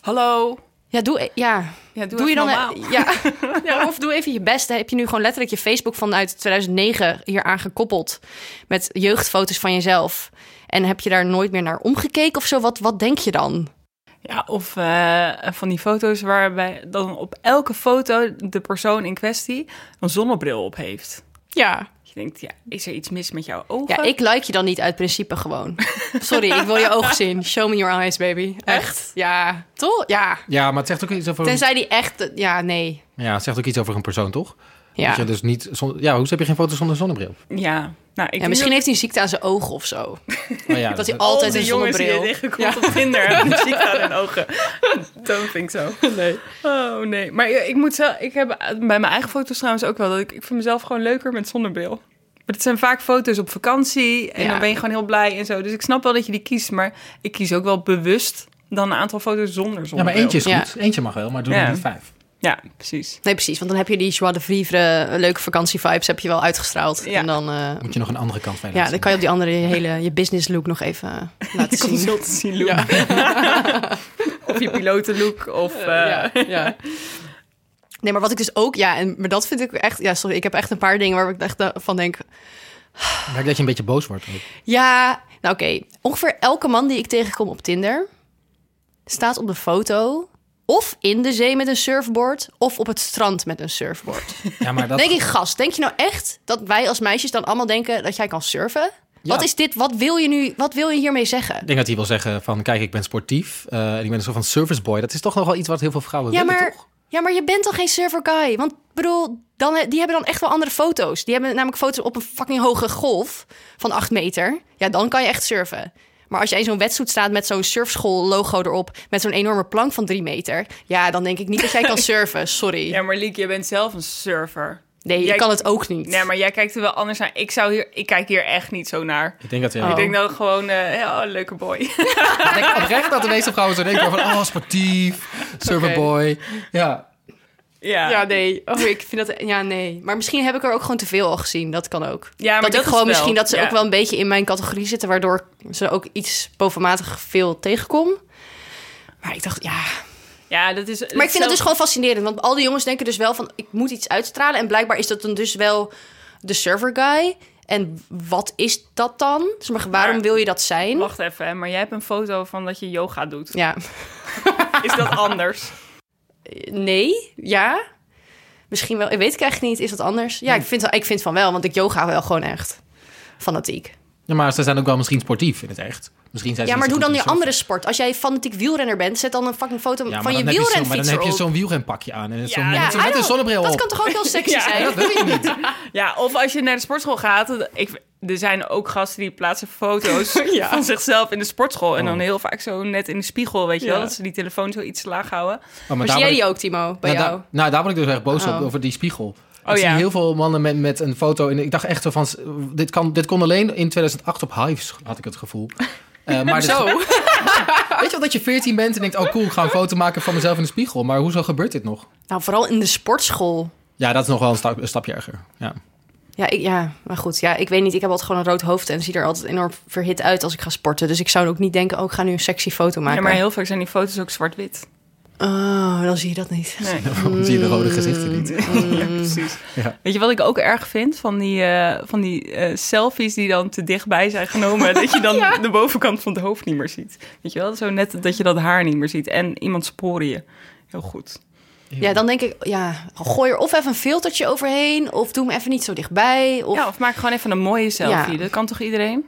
[SPEAKER 2] hallo,
[SPEAKER 3] Ja, doe, e-, ja,
[SPEAKER 2] ja, doe, e-
[SPEAKER 3] doe je dan
[SPEAKER 2] normaal.
[SPEAKER 3] ja, ja, of doe even je best. Dan heb je nu gewoon letterlijk je Facebook vanuit 2009 hier aangekoppeld met jeugdfoto's van jezelf en heb je daar nooit meer naar omgekeken of zo? Wat, wat denk je dan?
[SPEAKER 2] Ja, of eh, van die foto's waarbij dan op elke foto de persoon in kwestie een zonnebril op heeft.
[SPEAKER 3] Ja.
[SPEAKER 2] Je denkt, ja, eh, is er iets mis met jouw ogen?
[SPEAKER 3] Ja, ik like je dan niet uit principe gewoon. Sorry, ik wil je ogen zien. Show me your eyes, baby.
[SPEAKER 2] Echt?
[SPEAKER 3] Ja, toch? Ja.
[SPEAKER 5] Ja, maar het zegt ook iets over,
[SPEAKER 3] Tenzij die echt, eh, ja, nee.
[SPEAKER 5] ja, het zegt ook iets over een persoon, toch?
[SPEAKER 3] Ja.
[SPEAKER 5] Dat je dus niet zon- ja, hoe heb je geen foto zonder zonnebril?
[SPEAKER 2] Ja, nou, ik
[SPEAKER 3] Ja,
[SPEAKER 2] denk
[SPEAKER 3] misschien
[SPEAKER 2] dat-
[SPEAKER 3] heeft hij een ziekte aan zijn ogen of zo.
[SPEAKER 5] Maar ja,
[SPEAKER 3] Dat hij
[SPEAKER 2] al
[SPEAKER 3] altijd
[SPEAKER 2] die
[SPEAKER 3] een
[SPEAKER 2] jongens die je
[SPEAKER 3] zonnebril.
[SPEAKER 2] tegenkomt op Tinder hebben muziek aan hun ogen. Don't think so. Nee. Oh nee. Maar ja, ik moet zelf, ik heb bij mijn eigen foto's trouwens ook wel dat ik, ik vind mezelf gewoon leuker met zonnebril. Maar het zijn vaak foto's op vakantie en
[SPEAKER 3] Ja.
[SPEAKER 2] dan ben je gewoon heel blij en zo. Dus ik snap wel dat je die kiest, maar ik kies ook wel bewust dan een aantal foto's zonder zonnebril.
[SPEAKER 5] ja, maar eentje is
[SPEAKER 3] Ja.
[SPEAKER 5] goed. Eentje mag wel, maar doe er
[SPEAKER 2] Ja.
[SPEAKER 5] niet vijf.
[SPEAKER 2] Ja, precies.
[SPEAKER 3] Nee, precies. Want dan heb je die joie de vivre, leuke vakantievibes heb je wel uitgestraald.
[SPEAKER 2] Ja.
[SPEAKER 3] En dan eh,
[SPEAKER 5] Moet je nog een andere kant bij laten
[SPEAKER 3] Ja, dan
[SPEAKER 5] zien.
[SPEAKER 3] kan je op die andere je hele je business look nog even eh, laten
[SPEAKER 2] Je
[SPEAKER 3] zien.
[SPEAKER 2] consultancy look. of je pilotenlook of... eh,
[SPEAKER 3] Ja, ja. Nee, maar wat ik dus ook, ja, en, maar dat vind ik echt, ja, sorry, ik heb echt een paar dingen waar ik echt eh, van denk,
[SPEAKER 1] Merk dat je een beetje boos wordt ook.
[SPEAKER 3] Ja, nou oké. Ongeveer elke man die ik tegenkom op Tinder staat op de foto of in de zee met een surfboard of op het strand met een surfboard.
[SPEAKER 1] Ja, maar dat...
[SPEAKER 3] Denk ik, gast, denk je nou echt dat wij als meisjes dan allemaal denken dat jij kan surfen?
[SPEAKER 1] Ja.
[SPEAKER 3] Wat is dit? Wat wil je nu? Wat wil je hiermee zeggen?
[SPEAKER 5] Ik denk dat hij wil zeggen van, kijk, ik ben sportief eh, en ik ben een soort van service boy. Dat is toch nog wel iets wat heel veel vrouwen
[SPEAKER 3] Ja
[SPEAKER 5] willen,
[SPEAKER 3] maar,
[SPEAKER 5] toch?
[SPEAKER 3] ja, maar je bent toch geen surfer guy? Want bedoel, dan, die hebben dan echt wel andere foto's. Die hebben namelijk foto's op een fucking hoge golf van 8 meter. Ja, dan kan je echt surfen. Maar als jij in zo'n wetsuit staat met zo'n surfschool logo erop... met zo'n enorme plank van 3 meter... ja, dan denk ik niet dat jij kan surfen, sorry.
[SPEAKER 2] Ja, maar Liek, je bent zelf een surfer.
[SPEAKER 3] nee,
[SPEAKER 2] jij-
[SPEAKER 3] ik kan het ook niet.
[SPEAKER 2] Nee, maar jij kijkt er wel anders naar. Ik, zou hier, ik kijk hier echt niet zo naar.
[SPEAKER 5] Ik denk dat hij...
[SPEAKER 3] Oh.
[SPEAKER 2] Ik denk dat gewoon, eh, ja, oh, leuke boy.
[SPEAKER 1] Ik denk oprecht dat de meeste vrouwen zo denken van... Oh, sportief, surferboy. Ja.
[SPEAKER 2] ja.
[SPEAKER 3] Ja,
[SPEAKER 2] ja.
[SPEAKER 3] nee. Oh, ik vind dat... Ja, nee. Maar misschien heb ik er ook gewoon te veel al gezien. Dat kan ook.
[SPEAKER 2] Ja, maar
[SPEAKER 3] dat,
[SPEAKER 2] dat
[SPEAKER 3] ik
[SPEAKER 2] is
[SPEAKER 3] gewoon
[SPEAKER 2] wel-
[SPEAKER 3] misschien dat ze
[SPEAKER 2] ja.
[SPEAKER 3] ook wel een beetje in mijn categorie zitten... waardoor ik ze ook iets bovenmatig veel tegenkom. Maar ik dacht, ja...
[SPEAKER 2] dat is...
[SPEAKER 3] Maar ik vind dat dus gewoon fascinerend. Want al die jongens denken dus wel van... ik moet iets uitstralen. En blijkbaar is dat dan dus wel de server guy. En wat is dat dan? Dus maar waarom
[SPEAKER 2] Maar-
[SPEAKER 3] wil je dat zijn?
[SPEAKER 2] Wacht even, hè, maar jij hebt een foto van dat je yoga doet.
[SPEAKER 3] Ja.
[SPEAKER 2] Is dat anders?
[SPEAKER 3] Nee? Ja? Misschien wel. Ik weet ik eigenlijk niet. Is dat anders? Ja, ik vind, ik vind van wel. Want ik yoga wel gewoon echt fanatiek.
[SPEAKER 1] ja, dus maar ze zijn ook wel misschien sportief in het echt. Misschien zijn ze
[SPEAKER 3] Ja, maar
[SPEAKER 1] niet
[SPEAKER 3] doe
[SPEAKER 1] zo
[SPEAKER 3] dan
[SPEAKER 1] goed
[SPEAKER 3] je
[SPEAKER 1] in surfen.
[SPEAKER 3] andere sport. Als jij fanatiek wielrenner bent, zet dan een fucking foto
[SPEAKER 1] Ja, maar
[SPEAKER 3] van je
[SPEAKER 1] dan heb zo'n- Maar dan
[SPEAKER 3] wielrenfietser
[SPEAKER 1] heb je
[SPEAKER 3] op.
[SPEAKER 1] zo'n wielrenpakje aan. En zo'n-
[SPEAKER 2] Ja,
[SPEAKER 1] met zo'n- met
[SPEAKER 3] I
[SPEAKER 1] een
[SPEAKER 3] don't-
[SPEAKER 1] zonnebril
[SPEAKER 3] Dat
[SPEAKER 1] op.
[SPEAKER 3] kan toch ook wel sexy
[SPEAKER 2] Ja,
[SPEAKER 3] zijn?
[SPEAKER 1] Dat weet ik niet.
[SPEAKER 2] Ja, of als je naar de sportschool gaat. Ik, er zijn ook gasten die plaatsen foto's
[SPEAKER 3] Ja.
[SPEAKER 2] van zichzelf in de sportschool. En dan heel vaak zo net in de spiegel, weet je
[SPEAKER 3] Ja.
[SPEAKER 2] wel. Dat ze die telefoon zo iets te laag houden.
[SPEAKER 1] Oh, maar
[SPEAKER 3] Maar
[SPEAKER 1] daar
[SPEAKER 3] zie dus jij
[SPEAKER 1] ben ik-
[SPEAKER 3] die ook, Timo? Bij
[SPEAKER 1] nou,
[SPEAKER 3] jou?
[SPEAKER 1] daar- nou, daar ben ik dus echt boos op,
[SPEAKER 3] Oh.
[SPEAKER 1] over die spiegel.
[SPEAKER 2] Oh,
[SPEAKER 1] ik
[SPEAKER 2] ja.
[SPEAKER 1] zie heel veel mannen met, met een foto. In, ik dacht echt zo van, s- dit, kan, dit kon alleen in 2008 op Hives, had ik het gevoel. Eh, maar dit-
[SPEAKER 3] Zo.
[SPEAKER 1] weet je wel, dat je 14 bent en denkt, oh cool, ik ga een foto maken van mezelf in de spiegel. Maar hoezo gebeurt dit nog?
[SPEAKER 3] Nou, vooral in de sportschool.
[SPEAKER 1] Ja, dat is nog wel een, stap, een stapje erger. Ja.
[SPEAKER 3] Ja, ik, ja, maar goed. Ja, ik weet niet. Ik heb altijd gewoon een rood hoofd en zie er altijd enorm verhit uit als ik ga sporten. Dus ik zou ook niet denken, oh, ik ga nu een sexy foto
[SPEAKER 2] Ja,
[SPEAKER 3] maken.
[SPEAKER 2] maar heel vaak zijn die foto's ook zwart-wit.
[SPEAKER 3] Oh, dan zie je dat niet.
[SPEAKER 2] Nee.
[SPEAKER 1] Dan zie je de rode gezichten
[SPEAKER 3] Mm.
[SPEAKER 1] niet.
[SPEAKER 2] Ja, precies.
[SPEAKER 1] Ja.
[SPEAKER 2] Weet je wat ik ook erg vind? Van die, eh, van die eh, selfies die dan te dichtbij zijn genomen. dat je dan de bovenkant van het hoofd niet meer ziet. Weet je wel? Zo net dat je dat haar niet meer ziet. En iemand sporen je. Heel goed.
[SPEAKER 3] Ja, dan denk ik, ja, gooi er of even een filtertje overheen. Of doe me even niet zo dichtbij. Of...
[SPEAKER 2] Ja, of maak gewoon even een mooie selfie.
[SPEAKER 3] Ja.
[SPEAKER 2] Dat kan toch iedereen?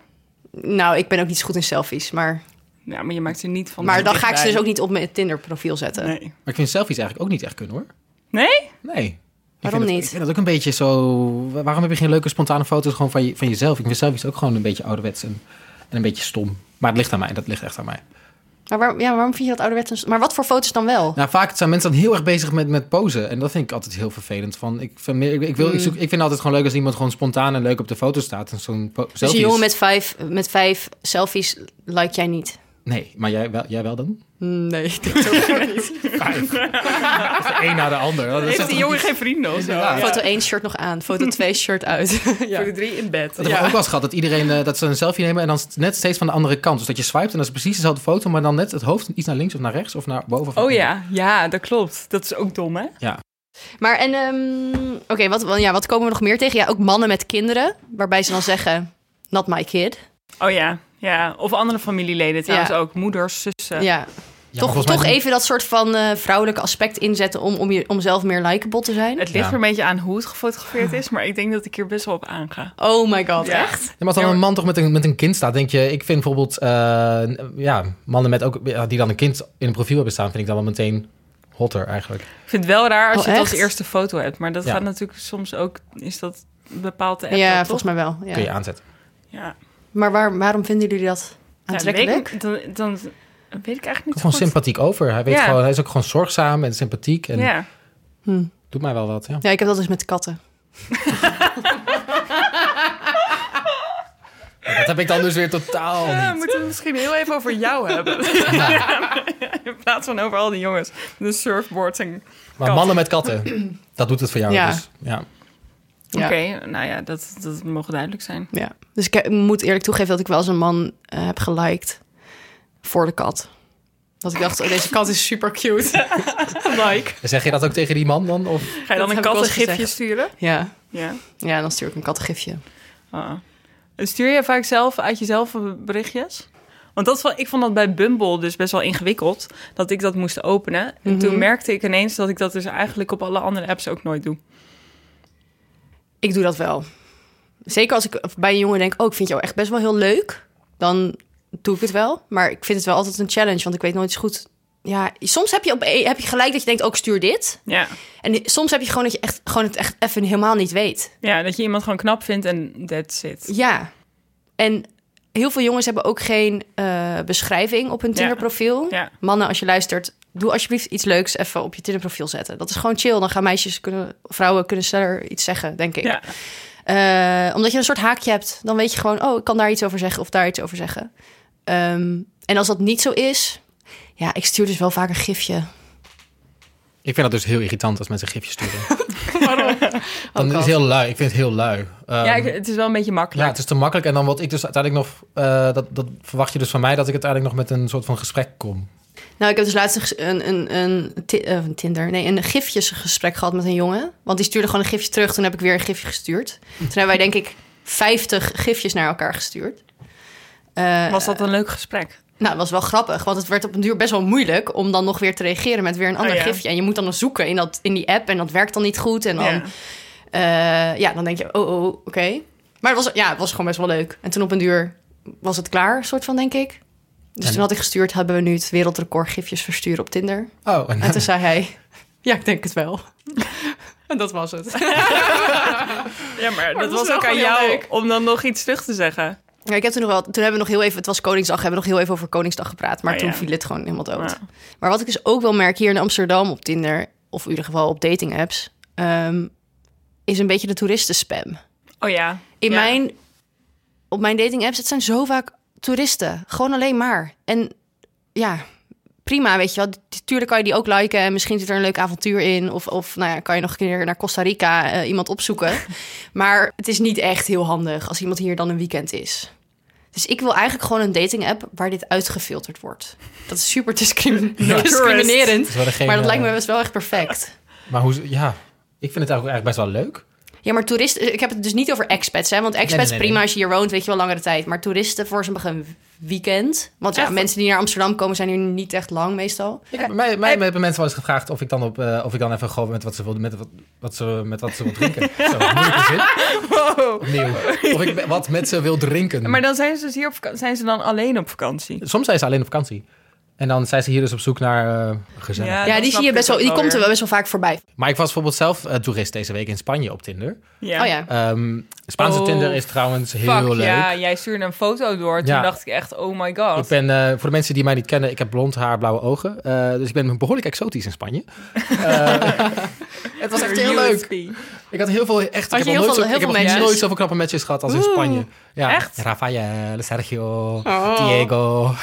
[SPEAKER 3] Nou, ik ben ook niet zo goed in selfies. Maar,
[SPEAKER 2] Ja, maar je maakt er niet van.
[SPEAKER 3] maar
[SPEAKER 2] te
[SPEAKER 3] dan ga ik ze
[SPEAKER 2] dichtbij.
[SPEAKER 3] dus ook niet op mijn Tinder profiel zetten.
[SPEAKER 2] Nee.
[SPEAKER 1] Maar ik vind selfies eigenlijk ook niet echt kunnen hoor.
[SPEAKER 2] Nee?
[SPEAKER 1] Nee. Ik
[SPEAKER 3] Waarom
[SPEAKER 1] vind dat-
[SPEAKER 3] niet?
[SPEAKER 1] ik vind dat ook een beetje zo... wa- Waarom heb je geen leuke spontane foto's gewoon van, je, van jezelf? Ik vind selfies ook gewoon een beetje ouderwets en, en een beetje stom. Maar het ligt aan mij, dat ligt echt aan mij.
[SPEAKER 3] Maar waarom, ja, waarom vind je dat ouderwets? een- Maar wat voor foto's dan wel?
[SPEAKER 1] Nou, vaak zijn mensen dan heel erg bezig met, met posen. En dat vind ik altijd heel vervelend. Van, ik, vind, meer- ik, ik
[SPEAKER 3] Mm.
[SPEAKER 1] wil, ik, zoek, ik vind het altijd gewoon leuk als iemand gewoon spontaan en leuk op de foto staat. En zo'n po-
[SPEAKER 3] dus
[SPEAKER 1] selfie
[SPEAKER 3] een
[SPEAKER 1] is-
[SPEAKER 3] jongen met vijf, met vijf selfies like jij niet?
[SPEAKER 1] Nee, maar jij wel, jij wel dan?
[SPEAKER 3] Nee.
[SPEAKER 1] Vijf. de een na de ander. Dat is
[SPEAKER 2] Heeft die
[SPEAKER 1] toch-
[SPEAKER 2] jongen geen vrienden of zo? Ja.
[SPEAKER 3] Foto 1 shirt nog aan, foto 2 shirt uit.
[SPEAKER 2] Foto drie in bed.
[SPEAKER 1] Dat heb ik ook wel eens gehad. Dat iedereen eh, dat ze een selfie nemen en dan net steeds van de andere kant. Dus dat je swipt en dat is precies dezelfde foto, maar dan net het hoofd iets naar links of naar rechts of naar boven. of naar
[SPEAKER 2] Oh
[SPEAKER 1] onder.
[SPEAKER 2] ja, ja, dat klopt. Dat is ook dom, hè?
[SPEAKER 3] Maar en, ehm, oké, wat, wel, ja, wat komen we nog meer tegen? Ja, ook mannen met kinderen, waarbij ze dan zeggen, not my kid.
[SPEAKER 2] Oh ja, ja. Of andere familieleden trouwens
[SPEAKER 3] Ja.
[SPEAKER 2] ook. Moeders, zussen.
[SPEAKER 3] Ja.
[SPEAKER 1] Ja, maar
[SPEAKER 3] toch
[SPEAKER 1] volgens mij
[SPEAKER 3] toch
[SPEAKER 1] doen-
[SPEAKER 3] even dat soort van eh, vrouwelijke aspect inzetten om, om, je, om zelf meer likeable te zijn.
[SPEAKER 2] Het ligt
[SPEAKER 1] Ja.
[SPEAKER 2] er een beetje aan hoe het gefotografeerd is, maar ik denk dat ik hier best wel op aanga.
[SPEAKER 3] Oh my god,
[SPEAKER 2] Ja.
[SPEAKER 3] echt?
[SPEAKER 1] Ja, maar als dan
[SPEAKER 2] Ja,
[SPEAKER 1] een
[SPEAKER 2] maar-
[SPEAKER 1] man toch met een, met een kind staat, denk je... Ik vind bijvoorbeeld eh, ja, mannen met ook, ja, die dan een kind in een profiel hebben staan... vind ik dan wel meteen hotter eigenlijk.
[SPEAKER 2] Ik vind het wel raar als
[SPEAKER 3] Oh,
[SPEAKER 2] je het als
[SPEAKER 3] echt?
[SPEAKER 2] eerste foto hebt, maar dat
[SPEAKER 1] Ja.
[SPEAKER 2] gaat natuurlijk soms ook, is dat bepaald te appen,
[SPEAKER 3] Ja,
[SPEAKER 2] toch?
[SPEAKER 3] volgens mij wel.
[SPEAKER 1] Kun je
[SPEAKER 3] Ja.
[SPEAKER 1] aanzetten.
[SPEAKER 2] Ja.
[SPEAKER 3] Maar waar, waarom vinden jullie dat
[SPEAKER 2] Ja, dan
[SPEAKER 3] aantrekkelijk?
[SPEAKER 2] weet ik- dan, dan, dan weet ik eigenlijk niet
[SPEAKER 1] Komt
[SPEAKER 2] zo
[SPEAKER 1] gewoon
[SPEAKER 2] goed.
[SPEAKER 1] sympathiek over. Hij, weet
[SPEAKER 2] Ja.
[SPEAKER 1] gewoon, hij is ook gewoon zorgzaam en sympathiek. En
[SPEAKER 2] Ja.
[SPEAKER 3] Hm.
[SPEAKER 1] doet mij wel wat, ja.
[SPEAKER 3] Ja, ik heb dat dus met katten.
[SPEAKER 1] Dat heb ik dan dus weer totaal
[SPEAKER 2] Ja,
[SPEAKER 1] niet.
[SPEAKER 2] we moeten het misschien heel even over jou hebben. In plaats van over al die jongens. De surfboards en...
[SPEAKER 1] Maar
[SPEAKER 2] Kat.
[SPEAKER 1] mannen met katten, dat doet het voor jou.
[SPEAKER 3] Ja.
[SPEAKER 1] Dus, ja.
[SPEAKER 3] Ja.
[SPEAKER 2] Oké, nou ja, dat, dat mogen duidelijk zijn.
[SPEAKER 3] Ja. Dus eh, ik, ik moet eerlijk toegeven dat ik wel eens een man eh, heb geliked voor de kat. Dat ik dacht, oh, deze kat is super cute. Like.
[SPEAKER 1] Zeg je dat ook tegen die man dan? Of?
[SPEAKER 2] Ga je dan
[SPEAKER 3] heb
[SPEAKER 2] een
[SPEAKER 3] ik wel eens
[SPEAKER 2] kattengifje
[SPEAKER 3] gezegd.
[SPEAKER 2] sturen?
[SPEAKER 3] Ja.
[SPEAKER 2] Ja.
[SPEAKER 3] ja, dan stuur ik een kattengifje.
[SPEAKER 2] Ah. En Stuur je vaak zelf uit jezelf berichtjes? Want dat is wel, ik vond dat bij Bumble dus best wel ingewikkeld. Dat ik dat moest openen. En toen merkte ik ineens dat ik dat dus eigenlijk op alle andere apps ook nooit doe.
[SPEAKER 3] Ik doe dat wel. Zeker als ik bij een jongen denk, oh, ik vind jou echt best wel heel leuk. Dan doe ik het wel. Maar ik vind het wel altijd een challenge, want ik weet nooit eens goed... Ja, soms heb je, op, e- heb je gelijk dat je denkt, ook stuur dit.
[SPEAKER 2] Ja.
[SPEAKER 3] En soms heb je gewoon dat je echt, gewoon het echt even helemaal niet weet.
[SPEAKER 2] ja, dat je iemand gewoon knap vindt en that's it.
[SPEAKER 3] Ja. En heel veel jongens hebben ook geen eh, beschrijving op hun Tinder-profiel.
[SPEAKER 2] Ja.
[SPEAKER 3] Mannen, als je luistert, doe alsjeblieft iets leuks even op je Tinder-profiel zetten. Dat is gewoon chill. Dan gaan meisjes kunnen, vrouwen kunnen sneller iets zeggen, denk ik.
[SPEAKER 2] Ja.
[SPEAKER 3] Eh, omdat je een soort haakje hebt, dan weet je gewoon, oh, ik kan daar iets over zeggen of daar iets over zeggen. Ehm, en als dat niet zo is, ja, ik stuur dus wel vaak een gifje.
[SPEAKER 1] Ik vind dat dus heel irritant als mensen gifjes sturen.
[SPEAKER 3] Waarom? Oh,
[SPEAKER 1] Dan is het heel lui. Ik vind het heel lui. Ehm,
[SPEAKER 2] Oh, ja, ik- het is wel een beetje
[SPEAKER 1] Ja,
[SPEAKER 2] makkelijk.
[SPEAKER 1] het is te makkelijk. En dan wat ik dus uiteindelijk nog... eh, dat, dat verwacht je dus van mij dat ik uiteindelijk nog met een soort van gesprek kom.
[SPEAKER 3] Nou, ik heb dus laatst een ges- een, een, een, ti- eh, een Tinder, nee, een gifjesgesprek gehad met een jongen. Want die stuurde gewoon een gifje terug. Toen heb ik weer een gifje gestuurd. Toen hebben wij, denk ik, 50 gifjes naar elkaar gestuurd. Eh,
[SPEAKER 2] Was dat een leuk gesprek?
[SPEAKER 3] Nou, het was wel grappig, want het werd op een duur best wel moeilijk om dan nog weer te reageren met weer een ander
[SPEAKER 2] Oh, ja.
[SPEAKER 3] gifje. En je moet dan nog zoeken in, dat, in die app en dat werkt dan niet goed. En dan,
[SPEAKER 2] Ja.
[SPEAKER 3] ja, ja dan denk je, oh, oh oké. Maar het was, ja, het was gewoon best wel leuk. En toen op een duur was het klaar, soort van, denk ik. Dus
[SPEAKER 1] En-
[SPEAKER 3] toen had ik gestuurd, hebben we nu het wereldrecord gifjes versturen op Tinder.
[SPEAKER 1] Oh, en
[SPEAKER 3] En toen zei hij, ja, ik denk het wel. en dat was het.
[SPEAKER 2] Ja, maar dat,
[SPEAKER 3] dat is
[SPEAKER 2] was
[SPEAKER 3] wel
[SPEAKER 2] ook aan
[SPEAKER 3] gewoon heel
[SPEAKER 2] jou
[SPEAKER 3] leuk.
[SPEAKER 2] om dan nog iets terug te zeggen.
[SPEAKER 3] Ja, ik heb toen nog wel, toen hebben we nog heel even, het was Koningsdag, hebben we nog heel even over Koningsdag gepraat. Maar
[SPEAKER 2] Oh,
[SPEAKER 3] toen
[SPEAKER 2] ja.
[SPEAKER 3] viel het gewoon helemaal dood.
[SPEAKER 2] Ja.
[SPEAKER 3] Maar wat ik dus ook wel merk hier in Amsterdam op Tinder, of in ieder geval op dating apps, ehm, is een beetje de toeristenspam.
[SPEAKER 2] Oh ja.
[SPEAKER 3] In
[SPEAKER 2] Ja.
[SPEAKER 3] mijn, op mijn dating apps, het zijn zo vaak toeristen. Gewoon alleen maar. En ja, prima, weet je wel. Tuurlijk kan je die ook liken en misschien zit er een leuk avontuur in. Of, of nou ja, kan je nog een keer naar Costa Rica eh, iemand opzoeken. maar het is niet echt heel handig als iemand hier dan een weekend is. Dus ik wil eigenlijk gewoon een dating app waar dit uitgefilterd wordt. Dat is super discrimin- discriminerend.
[SPEAKER 1] is wel degene-
[SPEAKER 3] Maar dat lijkt me best wel echt perfect.
[SPEAKER 1] eh, Maar hoe... Ja, ik vind het eigenlijk, eigenlijk best wel leuk.
[SPEAKER 3] Ja, maar toeristen... Ik heb het dus niet over expats, hè. Want expats,
[SPEAKER 1] Nee, nee, nee,
[SPEAKER 3] prima
[SPEAKER 1] nee.
[SPEAKER 3] als je hier woont, weet je wel langere tijd. Maar toeristen voor zo'n weekend... Want ja,
[SPEAKER 2] Echt?
[SPEAKER 3] mensen die naar Amsterdam komen zijn hier niet echt lang meestal.
[SPEAKER 1] Ik, mij, mij hebben mensen wel eens gevraagd of ik dan, op, eh, of ik dan even gewoon met wat ze wil, met wat, wat ze, met wat ze wil drinken. Zo, moeilijke zin. Opnieuw. Of ik be- wat met ze wil drinken.
[SPEAKER 2] Maar dan zijn ze dus hier op vakantie. Zijn ze dan alleen op vakantie?
[SPEAKER 1] Soms zijn ze alleen op vakantie. En dan zijn ze hier dus op zoek naar eh gezellig.
[SPEAKER 2] Ja,
[SPEAKER 3] Ja,
[SPEAKER 2] dat
[SPEAKER 3] die,
[SPEAKER 2] snap
[SPEAKER 3] zie je
[SPEAKER 2] ik
[SPEAKER 3] best
[SPEAKER 2] ook
[SPEAKER 3] wel, die
[SPEAKER 2] wel
[SPEAKER 3] komt er
[SPEAKER 2] weer.
[SPEAKER 3] wel best wel vaak voorbij.
[SPEAKER 1] Maar ik was bijvoorbeeld zelf eh, toerist deze week in Spanje op Tinder.
[SPEAKER 2] Ja.
[SPEAKER 3] Oh ja.
[SPEAKER 1] Ehm, Spaanse
[SPEAKER 2] Oh,
[SPEAKER 1] Tinder is trouwens heel
[SPEAKER 2] Fuck,
[SPEAKER 1] leuk.
[SPEAKER 2] ja, jij stuurde een foto door. Toen
[SPEAKER 1] Ja.
[SPEAKER 2] dacht ik echt, oh my
[SPEAKER 1] Ik
[SPEAKER 2] god.
[SPEAKER 1] ben, eh, voor de mensen die mij niet kennen, ik heb blond haar, blauwe ogen. Eh, dus ik ben behoorlijk exotisch in Spanje. Eh, het was echt heel leuk. Ik had heel veel, echt,
[SPEAKER 3] Had
[SPEAKER 1] ik
[SPEAKER 3] je
[SPEAKER 1] heb, nog
[SPEAKER 3] heel
[SPEAKER 1] nooit,
[SPEAKER 3] veel-
[SPEAKER 1] zo,
[SPEAKER 3] heel
[SPEAKER 1] ik heb
[SPEAKER 3] veel
[SPEAKER 1] nog
[SPEAKER 3] matches?
[SPEAKER 1] nooit zoveel knappe matches gehad als in Spanje. Ja.
[SPEAKER 2] echt?
[SPEAKER 1] Rafael, Sergio, Diego.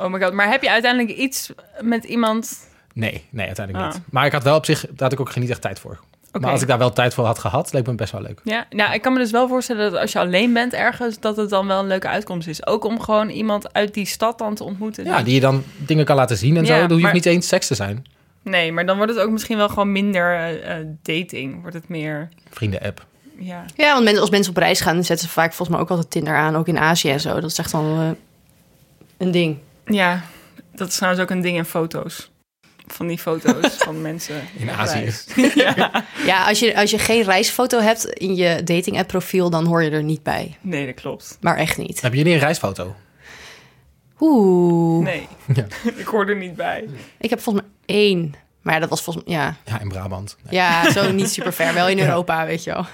[SPEAKER 2] Oh my god, maar heb je uiteindelijk iets met iemand...
[SPEAKER 1] Nee, nee, uiteindelijk
[SPEAKER 2] Ah.
[SPEAKER 1] niet. Maar ik had wel op zich, daar had ik ook niet echt tijd voor.
[SPEAKER 2] Oké.
[SPEAKER 1] Maar als ik daar wel tijd voor had gehad, leek me het best wel leuk.
[SPEAKER 2] Ja, nou, ik kan me dus wel voorstellen dat als je alleen bent ergens... dat het dan wel een leuke uitkomst is. Ook om gewoon iemand uit die stad dan te ontmoeten.
[SPEAKER 1] Ja, die je dan dingen kan laten zien en
[SPEAKER 2] Ja,
[SPEAKER 1] zo. Dan hoef je
[SPEAKER 2] maar-
[SPEAKER 1] niet eens seks te zijn.
[SPEAKER 2] Nee, maar dan wordt het ook misschien wel gewoon minder eh, eh, dating. Wordt het meer...
[SPEAKER 1] Vrienden-app.
[SPEAKER 2] Ja.
[SPEAKER 3] Ja, want mensen, als mensen op reis gaan, dan zetten ze vaak volgens mij ook altijd Tinder aan. Ook in Azië en zo. Dat is echt wel eh, een ding.
[SPEAKER 2] ja, dat is trouwens ook een ding in foto's. Van die foto's van mensen.
[SPEAKER 1] In
[SPEAKER 2] op
[SPEAKER 1] Azië.
[SPEAKER 2] reis.
[SPEAKER 3] Ja, als je, als je geen reisfoto hebt in je dating app profiel, dan hoor je er niet bij.
[SPEAKER 2] Nee, dat klopt.
[SPEAKER 3] Maar echt niet.
[SPEAKER 1] Hebben jullie een reisfoto?
[SPEAKER 3] Oeh.
[SPEAKER 2] Nee,
[SPEAKER 1] Ja.
[SPEAKER 2] ik hoor er niet bij.
[SPEAKER 3] Ik heb volgens mij één. Maar ja, dat was volgens mij... Ja,
[SPEAKER 1] Ja, in Brabant. Nee,
[SPEAKER 3] ja zo niet super ver. Wel in Europa, weet je wel.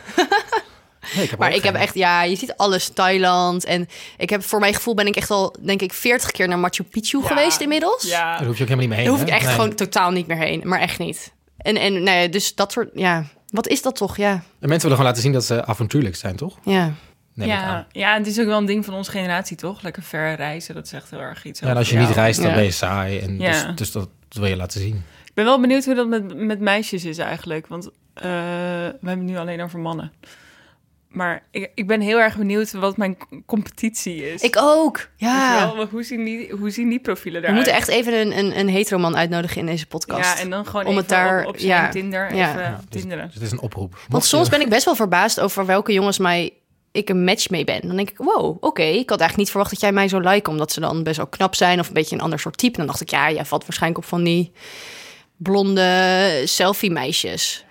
[SPEAKER 1] nee, ik heb
[SPEAKER 3] Maar
[SPEAKER 1] ook
[SPEAKER 3] ik heb
[SPEAKER 1] geen.
[SPEAKER 3] echt... Ja, je ziet alles. Thailand. En ik heb voor mijn gevoel ben ik echt al, denk ik, 40 keer naar Machu Picchu
[SPEAKER 2] Ja.
[SPEAKER 3] geweest inmiddels.
[SPEAKER 2] Ja,
[SPEAKER 1] Daar hoef je ook helemaal niet mee heen.
[SPEAKER 3] Daar hoef ik
[SPEAKER 1] hè?
[SPEAKER 3] echt
[SPEAKER 1] Nee.
[SPEAKER 3] gewoon totaal niet meer heen. Maar echt niet. En, en nou ja, dus dat soort... Ja, wat is dat toch? Ja,
[SPEAKER 1] En mensen willen gewoon laten zien dat ze avontuurlijk zijn, toch?
[SPEAKER 3] ja.
[SPEAKER 1] Neem ik aan.
[SPEAKER 2] ja, ja, het is ook wel een ding van onze generatie, toch? Lekker ver reizen, dat is echt heel erg iets.
[SPEAKER 1] Ja, en als je
[SPEAKER 2] over
[SPEAKER 1] niet
[SPEAKER 2] jou.
[SPEAKER 1] reist, dan
[SPEAKER 3] Ja.
[SPEAKER 1] ben je saai. En
[SPEAKER 2] Ja.
[SPEAKER 1] dus, dus dat wil je laten zien.
[SPEAKER 2] Ik ben wel benieuwd hoe dat met, met meisjes is eigenlijk. Want eh, we hebben het nu alleen over mannen. Maar ik, ik ben heel erg benieuwd wat mijn c- competitie is.
[SPEAKER 3] Ik ook.
[SPEAKER 2] Weet je
[SPEAKER 3] Ja.
[SPEAKER 2] wel? Want Hoe zien die, hoe zien die profielen
[SPEAKER 3] We
[SPEAKER 2] eruit?
[SPEAKER 3] moeten echt even een, een, een hetero man uitnodigen in deze podcast.
[SPEAKER 2] Ja, en dan gewoon
[SPEAKER 3] Om
[SPEAKER 2] even
[SPEAKER 3] het daar-
[SPEAKER 2] op, op zijn
[SPEAKER 3] ja,
[SPEAKER 2] Tinder
[SPEAKER 3] ja.
[SPEAKER 2] even
[SPEAKER 5] Ja, dus-
[SPEAKER 2] tinderen.
[SPEAKER 5] Dus het is een oproep.
[SPEAKER 3] Want
[SPEAKER 5] Mocht je-
[SPEAKER 3] soms ben ik best wel verbaasd over welke jongens mij ik een match mee ben. Dan denk ik, wow, oké, ik had eigenlijk niet verwacht dat jij mij zou liken, omdat ze dan best wel knap zijn of een beetje een ander soort type. Dan dacht ik, ja, jij valt waarschijnlijk op van die blonde selfie meisjes.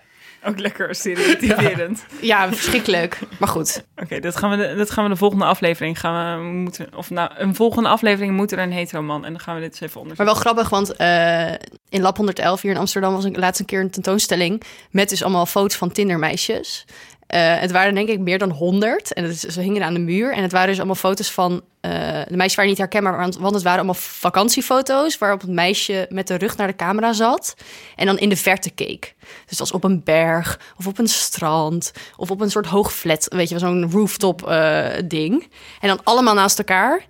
[SPEAKER 2] Ook lekker stereotyperend.
[SPEAKER 3] Ja, verschrikkelijk. Maar goed,
[SPEAKER 2] Oké, dat, gaan we de- dat gaan we de volgende aflevering gaan we moeten... Of nou, een volgende aflevering moet er een hetero man. En dan gaan we dit eens even
[SPEAKER 3] maar
[SPEAKER 2] onderzoeken.
[SPEAKER 3] wel grappig, want eh, in Lab 111 hier in Amsterdam was ik laatst een keer een tentoonstelling met dus allemaal foto's van Tindermeisjes. Eh, het waren denk ik meer dan 100. En het is, ze hingen aan de muur. En het waren dus allemaal foto's van... eh, de meisjes waren niet herkenbaar, want, want het waren allemaal vakantiefoto's... waarop het meisje met de rug naar de camera zat... en dan in de verte keek. Dus het was op een berg, of op een strand... of op een soort hoog flat, weet je wel, zo'n rooftop eh, ding. En dan allemaal naast elkaar.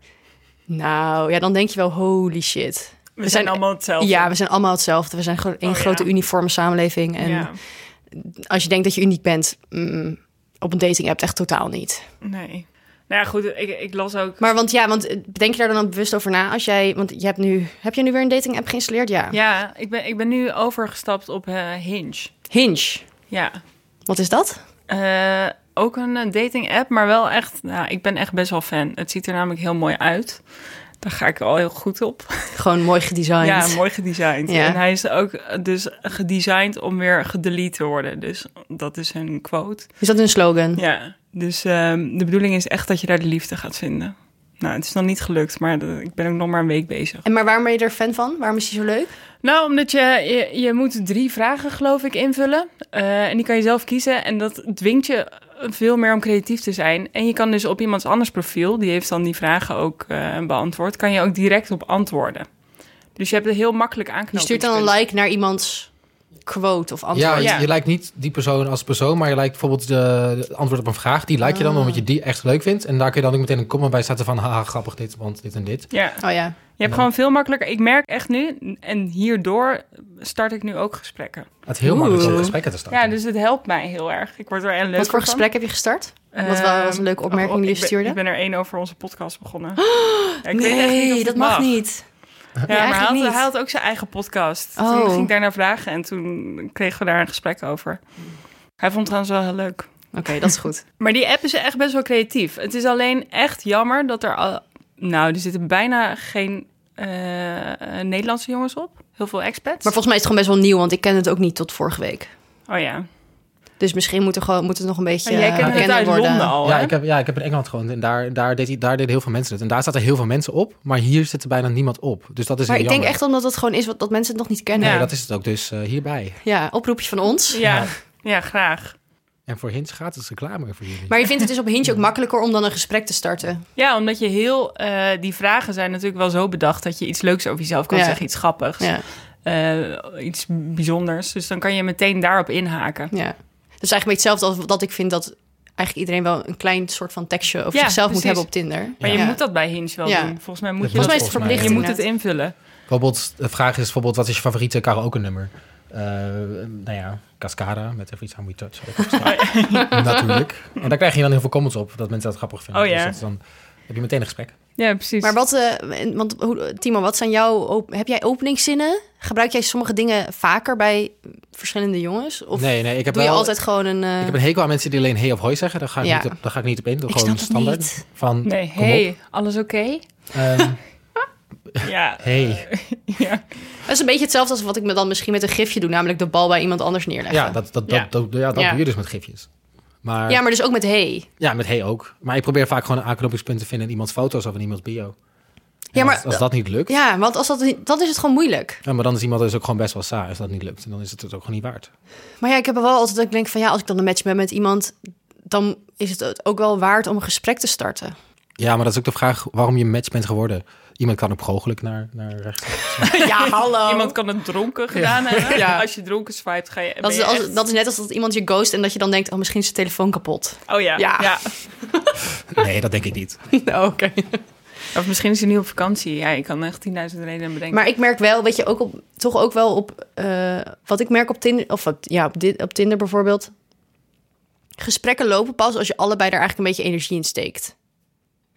[SPEAKER 3] Nou, ja, dan denk je wel, holy shit.
[SPEAKER 2] We, zijn,
[SPEAKER 3] zijn-
[SPEAKER 2] allemaal hetzelfde.
[SPEAKER 3] Ja, we zijn allemaal hetzelfde. We zijn gewoon één
[SPEAKER 2] Oh, ja.
[SPEAKER 3] grote uniforme samenleving. En
[SPEAKER 2] Ja.
[SPEAKER 3] als je denkt dat je uniek bent, mm, op een dating app echt totaal niet.
[SPEAKER 2] Nee. Nou ja, goed, ik, ik las ook...
[SPEAKER 3] Maar want ja, want eh, denk je daar dan ook bewust over na als jij, want je hebt nu, heb je nu weer een dating app geïnstalleerd? Ja.
[SPEAKER 2] Ja, ik ben, ik ben nu overgestapt op eh, Hinge.
[SPEAKER 3] Hinge.
[SPEAKER 2] Ja.
[SPEAKER 3] Wat is dat?
[SPEAKER 2] Eh, ook een eh, dating app, maar wel echt... Nou, ik ben echt best wel fan. Het ziet er namelijk heel mooi uit. Daar ga ik al heel goed op.
[SPEAKER 3] Gewoon mooi gedesigned.
[SPEAKER 2] Ja, mooi gedesigned.
[SPEAKER 3] Ja.
[SPEAKER 2] En hij is ook eh, dus gedesigned om weer gedelete te worden. Dus dat is hun quote.
[SPEAKER 3] Is dat een slogan?
[SPEAKER 2] Ja, dus ehm, de bedoeling is echt dat je daar de liefde gaat vinden. Nou, het is nog niet gelukt, maar dat- ik ben ook nog maar een week bezig.
[SPEAKER 3] En maar waarom ben je er fan van? Waarom is die zo leuk?
[SPEAKER 2] Nou, omdat je, je, je moet drie vragen, geloof ik, invullen. Eh, en die kan je zelf kiezen. En dat dwingt je veel meer om creatief te zijn. En je kan dus op iemands anders profiel, die heeft dan die vragen ook eh, beantwoord, kan je ook direct op antwoorden. Dus je hebt er heel makkelijk Dus
[SPEAKER 3] Je
[SPEAKER 2] aanknopingspunt.
[SPEAKER 3] stuurt dan een like naar iemands quote of
[SPEAKER 1] Ja,
[SPEAKER 3] antwoord.
[SPEAKER 1] je,
[SPEAKER 2] Ja.
[SPEAKER 1] je lijkt niet die persoon als persoon, maar je lijkt bijvoorbeeld de, de antwoord op een vraag. Die lijkt je dan
[SPEAKER 3] Ah.
[SPEAKER 1] omdat je die echt leuk vindt. En daar kun je dan ook meteen een comment bij zetten van, haha, grappig dit, want dit en dit.
[SPEAKER 2] Ja.
[SPEAKER 3] Oh ja.
[SPEAKER 2] Je hebt gewoon veel makkelijker. Ik merk echt nu, en hierdoor start ik nu ook gesprekken.
[SPEAKER 1] Het is heel
[SPEAKER 3] Oeh.
[SPEAKER 1] makkelijk om gesprekken te starten.
[SPEAKER 2] Ja, dus het helpt mij heel erg. Ik word er een leuk
[SPEAKER 3] Wat voor gesprek heb je gestart? Wat wel was een leuke opmerking die je stuurde?
[SPEAKER 2] Ehm, oh, Ik ben er één over onze podcast begonnen. Ja, ik weet echt niet of
[SPEAKER 3] Nee,
[SPEAKER 2] het
[SPEAKER 3] dat mag niet.
[SPEAKER 2] Ja, maar hij
[SPEAKER 3] eigenlijk
[SPEAKER 2] had,
[SPEAKER 3] niet.
[SPEAKER 2] hij had ook zijn eigen podcast.
[SPEAKER 3] Oh.
[SPEAKER 2] Toen ging ik daarna vragen en toen kregen we daar een gesprek over. Hij vond het trouwens wel heel leuk.
[SPEAKER 3] Oké, dat is goed.
[SPEAKER 2] Maar die app is echt best wel creatief. Het is alleen echt jammer dat er al... Nou, er zitten bijna geen eh, Nederlandse jongens op. Heel veel expats.
[SPEAKER 3] Maar volgens mij is het gewoon best wel nieuw, want ik ken het ook niet tot vorige week.
[SPEAKER 2] Oh ja.
[SPEAKER 3] Dus misschien moet, er gewoon, moet het nog een beetje
[SPEAKER 2] En jij
[SPEAKER 3] eh,
[SPEAKER 2] kent het
[SPEAKER 3] bekender
[SPEAKER 2] uit
[SPEAKER 3] worden.
[SPEAKER 2] Londen al,
[SPEAKER 1] Ja,
[SPEAKER 2] hè?
[SPEAKER 1] ik heb, ja, ik heb in Engeland gewoond en daar, daar, deed, hij- daar deden heel veel mensen het. En daar zaten heel veel mensen op, maar hier zit er bijna niemand op. Dus dat is
[SPEAKER 3] Maar
[SPEAKER 1] heel
[SPEAKER 3] ik denk
[SPEAKER 1] jammer.
[SPEAKER 3] echt omdat het gewoon is wat, dat mensen het nog niet kennen.
[SPEAKER 1] Nee,
[SPEAKER 2] Ja.
[SPEAKER 1] dat is het ook. Dus eh, hierbij.
[SPEAKER 3] Ja, oproepje van ons.
[SPEAKER 2] Ja, ja graag.
[SPEAKER 1] En voor Hints gratis reclame voor jullie.
[SPEAKER 3] Maar je vindt het dus op Hintje ook makkelijker om dan een gesprek te starten.
[SPEAKER 2] Ja, omdat je heel... eh, die vragen zijn natuurlijk wel zo bedacht... dat je iets leuks over jezelf kan
[SPEAKER 3] Ja.
[SPEAKER 2] zeggen. Iets grappigs.
[SPEAKER 3] Ja,
[SPEAKER 2] eh, iets bijzonders. Dus dan kan je meteen daarop inhaken.
[SPEAKER 3] ja. Dat is eigenlijk een beetje hetzelfde als dat ik vind dat eigenlijk iedereen wel een klein soort van tekstje over
[SPEAKER 2] Ja,
[SPEAKER 3] zichzelf
[SPEAKER 2] precies.
[SPEAKER 3] moet hebben op Tinder.
[SPEAKER 2] Maar
[SPEAKER 3] Ja.
[SPEAKER 2] je moet dat bij Hinge wel
[SPEAKER 3] Ja.
[SPEAKER 2] doen. Volgens mij moet
[SPEAKER 1] Dat
[SPEAKER 2] je
[SPEAKER 1] was
[SPEAKER 2] dat...
[SPEAKER 3] Volgens mij is het
[SPEAKER 1] volgens mij.
[SPEAKER 3] verplicht
[SPEAKER 2] Je moet het
[SPEAKER 3] inderdaad.
[SPEAKER 2] invullen.
[SPEAKER 1] Bijvoorbeeld, de vraag is bijvoorbeeld, wat is je favoriete karaoke nummer? Eh, nou ja, Cascada met Every Time We Touch. had ik
[SPEAKER 3] Oh,
[SPEAKER 1] opgestaan. Natuurlijk. En daar krijg je dan heel veel comments op, dat mensen dat grappig vinden.
[SPEAKER 2] Oh ja.
[SPEAKER 1] Dus dat is dan heb je meteen een gesprek.
[SPEAKER 2] Ja, precies.
[SPEAKER 3] Maar wat, eh, want hoe- Timo, wat zijn jouw, op- heb jij openingszinnen? Gebruik jij sommige dingen vaker bij verschillende jongens? Of
[SPEAKER 1] nee, nee, ik heb
[SPEAKER 3] doe je
[SPEAKER 1] wel-
[SPEAKER 3] altijd gewoon een... eh,
[SPEAKER 1] Ik heb een hekel aan mensen die alleen hey of hoi zeggen. Daar ga ik,
[SPEAKER 3] Ja.
[SPEAKER 1] niet, op, daar ga ik niet op in. Dat
[SPEAKER 3] Ik
[SPEAKER 1] gewoon
[SPEAKER 3] snap het
[SPEAKER 1] standaard.
[SPEAKER 3] niet.
[SPEAKER 1] Van,
[SPEAKER 2] Nee,
[SPEAKER 1] kom op.
[SPEAKER 2] hey, alles oké?
[SPEAKER 1] Ehm,
[SPEAKER 2] Ja.
[SPEAKER 1] hey.
[SPEAKER 2] ja.
[SPEAKER 3] Dat is een beetje hetzelfde als wat ik me dan misschien met een gifje doe, namelijk de bal bij iemand anders neerleggen.
[SPEAKER 1] Ja, dat, dat,
[SPEAKER 2] Ja.
[SPEAKER 1] dat, dat- ja, dat
[SPEAKER 3] Ja.
[SPEAKER 1] doe je dus met gifjes. Maar
[SPEAKER 3] ja
[SPEAKER 1] ja.
[SPEAKER 3] maar dus ook met hey.
[SPEAKER 1] met hey ook. Maar ik probeer vaak gewoon een aanknopingspunt te vinden in iemands foto's of in iemands bio. En
[SPEAKER 3] Ja, maar-
[SPEAKER 1] als, als dat niet lukt, ja.
[SPEAKER 3] Ja, want als dat, niet- dan is het gewoon moeilijk.
[SPEAKER 1] maar dan is iemand dus ook gewoon best wel saai als dat niet lukt. En dan is het het ook gewoon niet waard.
[SPEAKER 3] Maar ja, ik heb er wel altijd dat ik denk van ja, als ik dan een match ben met iemand, dan is het ook wel waard om een gesprek te starten.
[SPEAKER 1] Ja, maar dat is ook de vraag waarom je match bent geworden. Iemand kan op ongeluk naar, naar rechts.
[SPEAKER 3] ja, hallo.
[SPEAKER 2] Iemand kan het dronken gedaan hebben. Als je dronken swipt, ga je... ben
[SPEAKER 3] dat, is
[SPEAKER 2] je
[SPEAKER 3] als,
[SPEAKER 2] echt-
[SPEAKER 3] dat is net als dat iemand je ghost en dat je dan denkt, oh, misschien is zijn telefoon kapot.
[SPEAKER 2] Oh ja.
[SPEAKER 3] Ja.
[SPEAKER 2] ja.
[SPEAKER 1] Nee, dat denk ik niet.
[SPEAKER 3] Nou, Oké.
[SPEAKER 2] Of misschien is hij nu op vakantie. Ja, je kan echt 10.000 redenen bedenken.
[SPEAKER 3] Maar ik merk wel, weet je, ook op, toch ook eh, wel op eh, wat ik merk op Tinder, of wat, ja, op, dit, op Tinder bijvoorbeeld, Gesprekken lopen pas als je allebei er eigenlijk een beetje energie in steekt.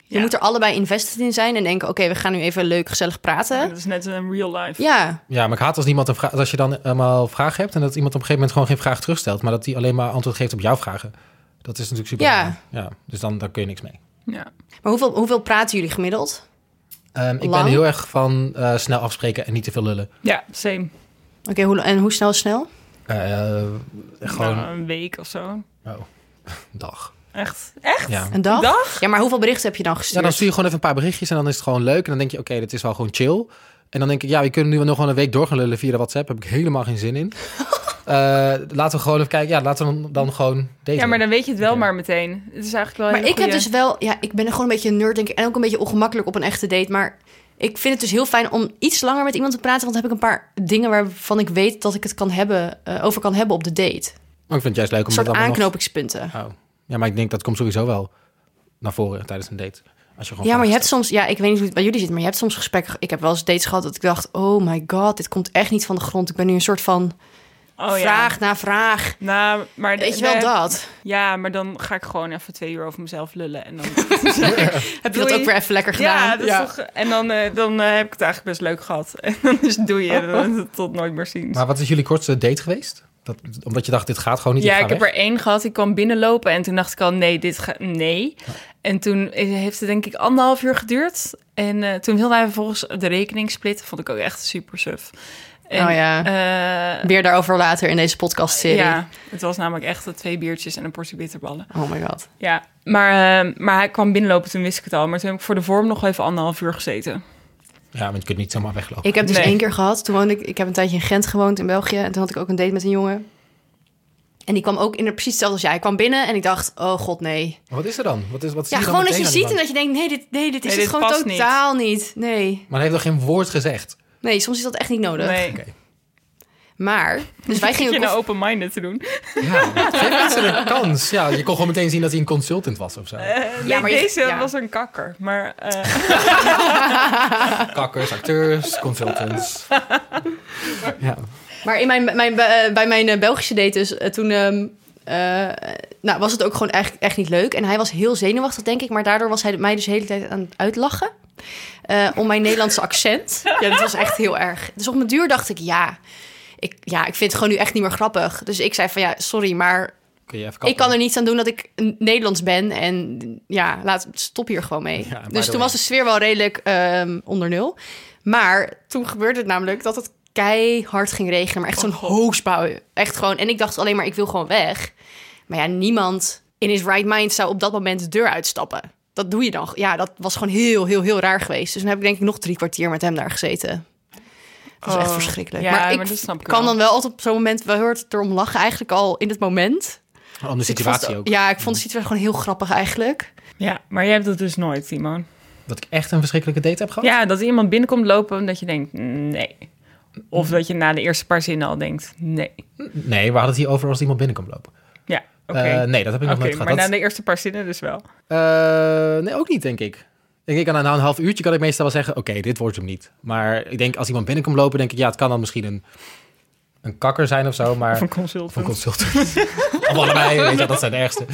[SPEAKER 3] Je
[SPEAKER 2] Ja.
[SPEAKER 3] moet er allebei invested in zijn en denken: oké, we gaan nu even leuk, gezellig praten.
[SPEAKER 2] Dat is net een real life.
[SPEAKER 3] Ja,
[SPEAKER 1] Ja, maar ik haat als niemand een vraag, als je dan helemaal vragen hebt en dat iemand op een gegeven moment gewoon geen vraag terugstelt, maar dat die alleen maar antwoord geeft op jouw vragen. Dat is natuurlijk super.
[SPEAKER 3] Ja.
[SPEAKER 1] raar. ja dus dan daar kun je niks mee.
[SPEAKER 2] Ja.
[SPEAKER 3] maar hoeveel, hoeveel praten jullie gemiddeld?
[SPEAKER 1] Ehm, ik
[SPEAKER 3] Lang?
[SPEAKER 1] ben heel erg van eh, snel afspreken en niet te veel lullen.
[SPEAKER 2] ja, same.
[SPEAKER 3] Oké, hoe, en hoe snel is snel?
[SPEAKER 1] Eh, eh, gewoon
[SPEAKER 2] Nou, een week of zo.
[SPEAKER 1] een dag.
[SPEAKER 2] Echt? Echt?
[SPEAKER 1] Ja.
[SPEAKER 3] Een dag?
[SPEAKER 2] Een dag?
[SPEAKER 3] Ja, maar hoeveel berichten heb je dan gestuurd?
[SPEAKER 1] ja, dan stuur je gewoon even een paar berichtjes en dan is het gewoon leuk. En dan denk je, oké, dit is wel gewoon chill. En dan denk ik, ja, we kunnen nu nog gewoon een week door gaan lullen via de WhatsApp. Heb ik helemaal geen zin in. Eh, laten we gewoon even kijken. Ja, laten we dan, dan gewoon deze.
[SPEAKER 2] Ja, maar dan weet je het wel
[SPEAKER 1] Oké.
[SPEAKER 2] maar meteen. Het is eigenlijk wel een
[SPEAKER 3] Maar ik heb
[SPEAKER 2] goeie-
[SPEAKER 3] dus wel, ja, ik ben gewoon een beetje een nerd, denk ik. En ook een beetje ongemakkelijk op een echte date. Maar ik vind het dus heel fijn om iets langer met iemand te praten. Want dan heb ik een paar dingen waarvan ik weet dat ik het kan hebben, eh, over kan hebben op de date.
[SPEAKER 1] Maar ik vind het juist leuk
[SPEAKER 3] Een
[SPEAKER 1] om dat
[SPEAKER 3] soort
[SPEAKER 1] allemaal nog-
[SPEAKER 3] aanknopingspunten.
[SPEAKER 1] Oh. Ja, maar ik denk dat komt sowieso wel naar voren tijdens een date. Als je gewoon
[SPEAKER 3] Ja, maar je hebt
[SPEAKER 1] vragen
[SPEAKER 3] soms, ja, ik weet niet hoe het bij jullie zit, maar je hebt soms gesprekken. ge- Ik heb wel eens dates gehad dat ik dacht: oh my god, dit komt echt niet van de grond. Ik ben nu een soort van
[SPEAKER 2] Oh, ja.
[SPEAKER 3] vraag na vraag.
[SPEAKER 2] Nou, maar
[SPEAKER 3] dus Weet je
[SPEAKER 2] daar
[SPEAKER 3] wel
[SPEAKER 2] heb-
[SPEAKER 3] dat?
[SPEAKER 2] Ja, maar dan ga ik gewoon even twee uur over mezelf lullen. En dan,
[SPEAKER 3] Heb je dat
[SPEAKER 2] Doei.
[SPEAKER 3] ook weer even lekker gedaan?
[SPEAKER 2] ja, dat is toch- en dan, eh, dan eh, heb ik het eigenlijk best leuk gehad. En dan is het doei en dan- tot nooit meer zien.
[SPEAKER 1] stelt. Maar wat is jullie kortste date geweest? Dat, omdat je dacht, dit gaat gewoon niet.
[SPEAKER 2] ja,
[SPEAKER 1] ga
[SPEAKER 2] ik heb
[SPEAKER 1] weg.
[SPEAKER 2] er één gehad. Die kwam binnenlopen en toen dacht ik al, nee, dit gaat... Nee. En toen heeft het denk ik anderhalf uur geduurd. En eh, toen wilden wij vervolgens de rekening splitten. Vond ik ook echt super suf. En,
[SPEAKER 3] Oh ja.
[SPEAKER 2] eh,
[SPEAKER 3] Weer daarover later in deze podcast-serie.
[SPEAKER 2] ja, het was namelijk echt eh, twee biertjes en een portie bitterballen.
[SPEAKER 3] Oh my god.
[SPEAKER 2] Ja, maar, eh, maar hij kwam binnenlopen, toen wist ik het al. Maar toen heb ik voor de vorm nog wel even anderhalf uur gezeten.
[SPEAKER 3] Oh,
[SPEAKER 1] Ja, want je kunt niet zomaar weglopen.
[SPEAKER 3] Ik heb dus
[SPEAKER 2] Nee.
[SPEAKER 3] één keer gehad. Toen woonde ik, ik heb een tijdje in Gent gewoond in België. En toen had ik ook een date met een jongen. En die kwam ook in precies hetzelfde als jij. Hij kwam binnen en ik dacht, oh god, nee.
[SPEAKER 1] Maar wat is er dan? Wat is, wat zie
[SPEAKER 3] Ja,
[SPEAKER 1] dan
[SPEAKER 3] gewoon
[SPEAKER 1] meteen
[SPEAKER 3] dat je
[SPEAKER 1] aan die
[SPEAKER 3] ziet en
[SPEAKER 1] man?
[SPEAKER 3] dat je denkt, nee, dit, nee, dit
[SPEAKER 2] Nee,
[SPEAKER 3] is het
[SPEAKER 2] dit
[SPEAKER 3] gewoon
[SPEAKER 2] past niet.
[SPEAKER 3] totaal niet. Nee.
[SPEAKER 1] Maar hij heeft nog geen woord gezegd.
[SPEAKER 3] nee, soms is dat echt niet nodig.
[SPEAKER 2] Nee.
[SPEAKER 1] Oké.
[SPEAKER 3] Maar, dus wij
[SPEAKER 2] Zit
[SPEAKER 3] gingen...
[SPEAKER 2] je nou
[SPEAKER 3] koffie-
[SPEAKER 2] open-minded te doen?
[SPEAKER 1] Ja, geef mensen een kans. Ja, je kon gewoon meteen zien dat hij een consultant was of zo.
[SPEAKER 2] nee,
[SPEAKER 3] maar je-
[SPEAKER 2] deze
[SPEAKER 3] ja.
[SPEAKER 2] was een kakker. Maar eh,
[SPEAKER 1] Kakkers, acteurs, consultants. Ja.
[SPEAKER 3] Maar in mijn, mijn, bij eh, bij mijn eh, Belgische date dus, eh, toen... ehm, eh, nou, was het ook gewoon echt, echt niet leuk. En hij was heel zenuwachtig, denk ik. Maar daardoor was hij mij dus de hele tijd aan het uitlachen. eh, om mijn Nederlandse accent. Ja, dat was echt heel erg. Dus op mijn duur dacht ik, ja... Ik, ja, ik vind het gewoon nu echt niet meer grappig. Dus ik zei van, ja, sorry, maar
[SPEAKER 1] Kun je even
[SPEAKER 3] ik kan er niets aan doen dat ik een Nederlands ben. En ja, laat, stop hier gewoon mee.
[SPEAKER 1] Ja, by
[SPEAKER 3] dus
[SPEAKER 1] the
[SPEAKER 3] toen
[SPEAKER 1] way.
[SPEAKER 3] was de sfeer wel redelijk ehm, onder nul. Maar toen gebeurde het namelijk dat het keihard ging regenen. Maar echt zo'n hoogspouw. Echt gewoon. En ik dacht alleen maar, ik wil gewoon weg. Maar ja, niemand in his right mind zou op dat moment de deur uitstappen. Dat doe je dan. Ja, dat was gewoon heel, heel, heel raar geweest. Dus toen heb ik denk ik nog drie kwartier met hem daar gezeten. Dat was echt
[SPEAKER 2] Oh,
[SPEAKER 3] verschrikkelijk.
[SPEAKER 2] ja,
[SPEAKER 3] maar ik
[SPEAKER 2] maar dat snap ik
[SPEAKER 3] kan
[SPEAKER 2] wel.
[SPEAKER 3] dan wel altijd op zo'n moment... We hoort het erom lachen eigenlijk al in het moment.
[SPEAKER 1] Om Oh, de
[SPEAKER 3] Dus ik
[SPEAKER 1] situatie
[SPEAKER 3] vond-
[SPEAKER 1] ook.
[SPEAKER 3] Ja, ik vond de situatie gewoon heel grappig eigenlijk.
[SPEAKER 2] ja, maar jij hebt dat dus nooit, Simon.
[SPEAKER 1] Dat ik echt een verschrikkelijke date heb gehad.
[SPEAKER 2] Ja, dat iemand binnenkomt lopen en dat je denkt, nee. Of dat je na de eerste paar zinnen al denkt, nee.
[SPEAKER 1] Nee, we hadden het hier over als iemand binnenkwam lopen.
[SPEAKER 2] Ja, oké.
[SPEAKER 1] Eh, nee, dat heb ik nog
[SPEAKER 2] Oké,
[SPEAKER 1] nooit
[SPEAKER 2] maar
[SPEAKER 1] gehad.
[SPEAKER 2] na
[SPEAKER 1] Dat-
[SPEAKER 2] de eerste paar zinnen dus wel.
[SPEAKER 1] Eh, nee, ook niet, denk ik. Ik denk, na een half uurtje kan ik meestal wel zeggen... oké, dit wordt hem niet. Maar ik denk, als iemand binnenkomt lopen... denk ik, ja, het kan dan misschien een, een kakker zijn of zo... maar
[SPEAKER 2] Van consultant.
[SPEAKER 1] Van consultant. Of allebei, weet je, dat zijn de ergste.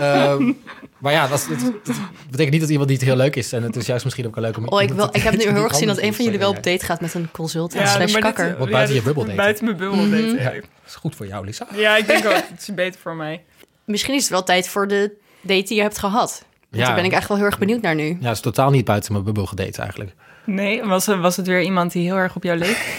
[SPEAKER 1] Ehm, maar ja, dat, is- dat- dat betekent niet dat iemand niet heel leuk is. En het is juist misschien ook wel leuk om...
[SPEAKER 3] Oh, ik, wil, ik heb nu heel erg gezien dat een van jullie wel op
[SPEAKER 1] betekent.
[SPEAKER 3] date gaat met een consultant
[SPEAKER 2] Ja,
[SPEAKER 3] slash
[SPEAKER 2] maar dit- eh,
[SPEAKER 3] kakker.
[SPEAKER 1] Wat
[SPEAKER 2] ja,
[SPEAKER 1] buiten je
[SPEAKER 2] dit-
[SPEAKER 1] bubbel daten.
[SPEAKER 2] Buiten mijn bubbel daten, ja.
[SPEAKER 1] Dat is goed voor jou, Lisa.
[SPEAKER 2] Mhm. Ja, ik denk ook, het is beter voor mij.
[SPEAKER 3] Misschien is het wel tijd voor de date die je hebt gehad. Want
[SPEAKER 1] Ja.
[SPEAKER 3] Daar ben ik echt wel heel erg benieuwd naar nu.
[SPEAKER 1] Ja, is totaal niet buiten mijn bubbel gedate eigenlijk.
[SPEAKER 2] Nee, was, was het weer iemand die heel erg op jou leek?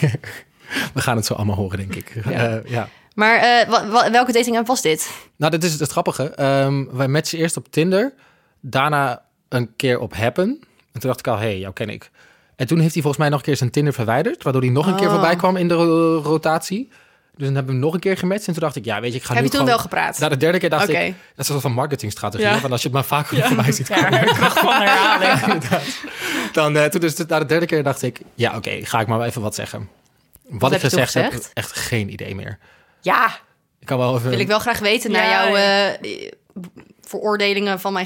[SPEAKER 1] We gaan het zo allemaal horen, denk ik.
[SPEAKER 3] Ja.
[SPEAKER 1] Ja. ja.
[SPEAKER 3] Maar eh, wa- wa- welke dating app was dit?
[SPEAKER 1] Nou, dit is het grappige. Ehm, wij matchen eerst op Tinder. Daarna een keer op Happen. En toen dacht ik al, hé, hey, jou ken ik. En toen heeft hij volgens mij nog een keer zijn Tinder verwijderd. Waardoor hij nog een keer
[SPEAKER 3] Oh.
[SPEAKER 1] voorbij kwam in de ro- rotatie. Dus dan hebben we hem nog een keer gematcht. En toen dacht ik, ja, weet je, ik ga
[SPEAKER 3] Heb
[SPEAKER 1] nu
[SPEAKER 3] je toen
[SPEAKER 1] gewoon...
[SPEAKER 3] wel gepraat?
[SPEAKER 1] Na de derde keer dacht
[SPEAKER 3] Oké.
[SPEAKER 1] ik, dat is een soort van marketingstrategie.
[SPEAKER 2] Ja.
[SPEAKER 1] hè, Van als je het maar vaak voorbij ziet
[SPEAKER 2] Ja, kracht van herhaling.
[SPEAKER 1] Dan, eh, toen dus na de derde keer dacht ik, ja, oké, ga ik maar even wat zeggen. Wat,
[SPEAKER 3] heb
[SPEAKER 1] ik
[SPEAKER 3] je toen
[SPEAKER 1] gezegd heb,
[SPEAKER 3] gezegd?
[SPEAKER 1] echt geen idee meer.
[SPEAKER 3] Ja,
[SPEAKER 1] Ik kan wel even...
[SPEAKER 3] wil ik wel graag weten naar
[SPEAKER 2] Ja,
[SPEAKER 3] jouw
[SPEAKER 2] ja.
[SPEAKER 3] eh, veroordelingen van mijn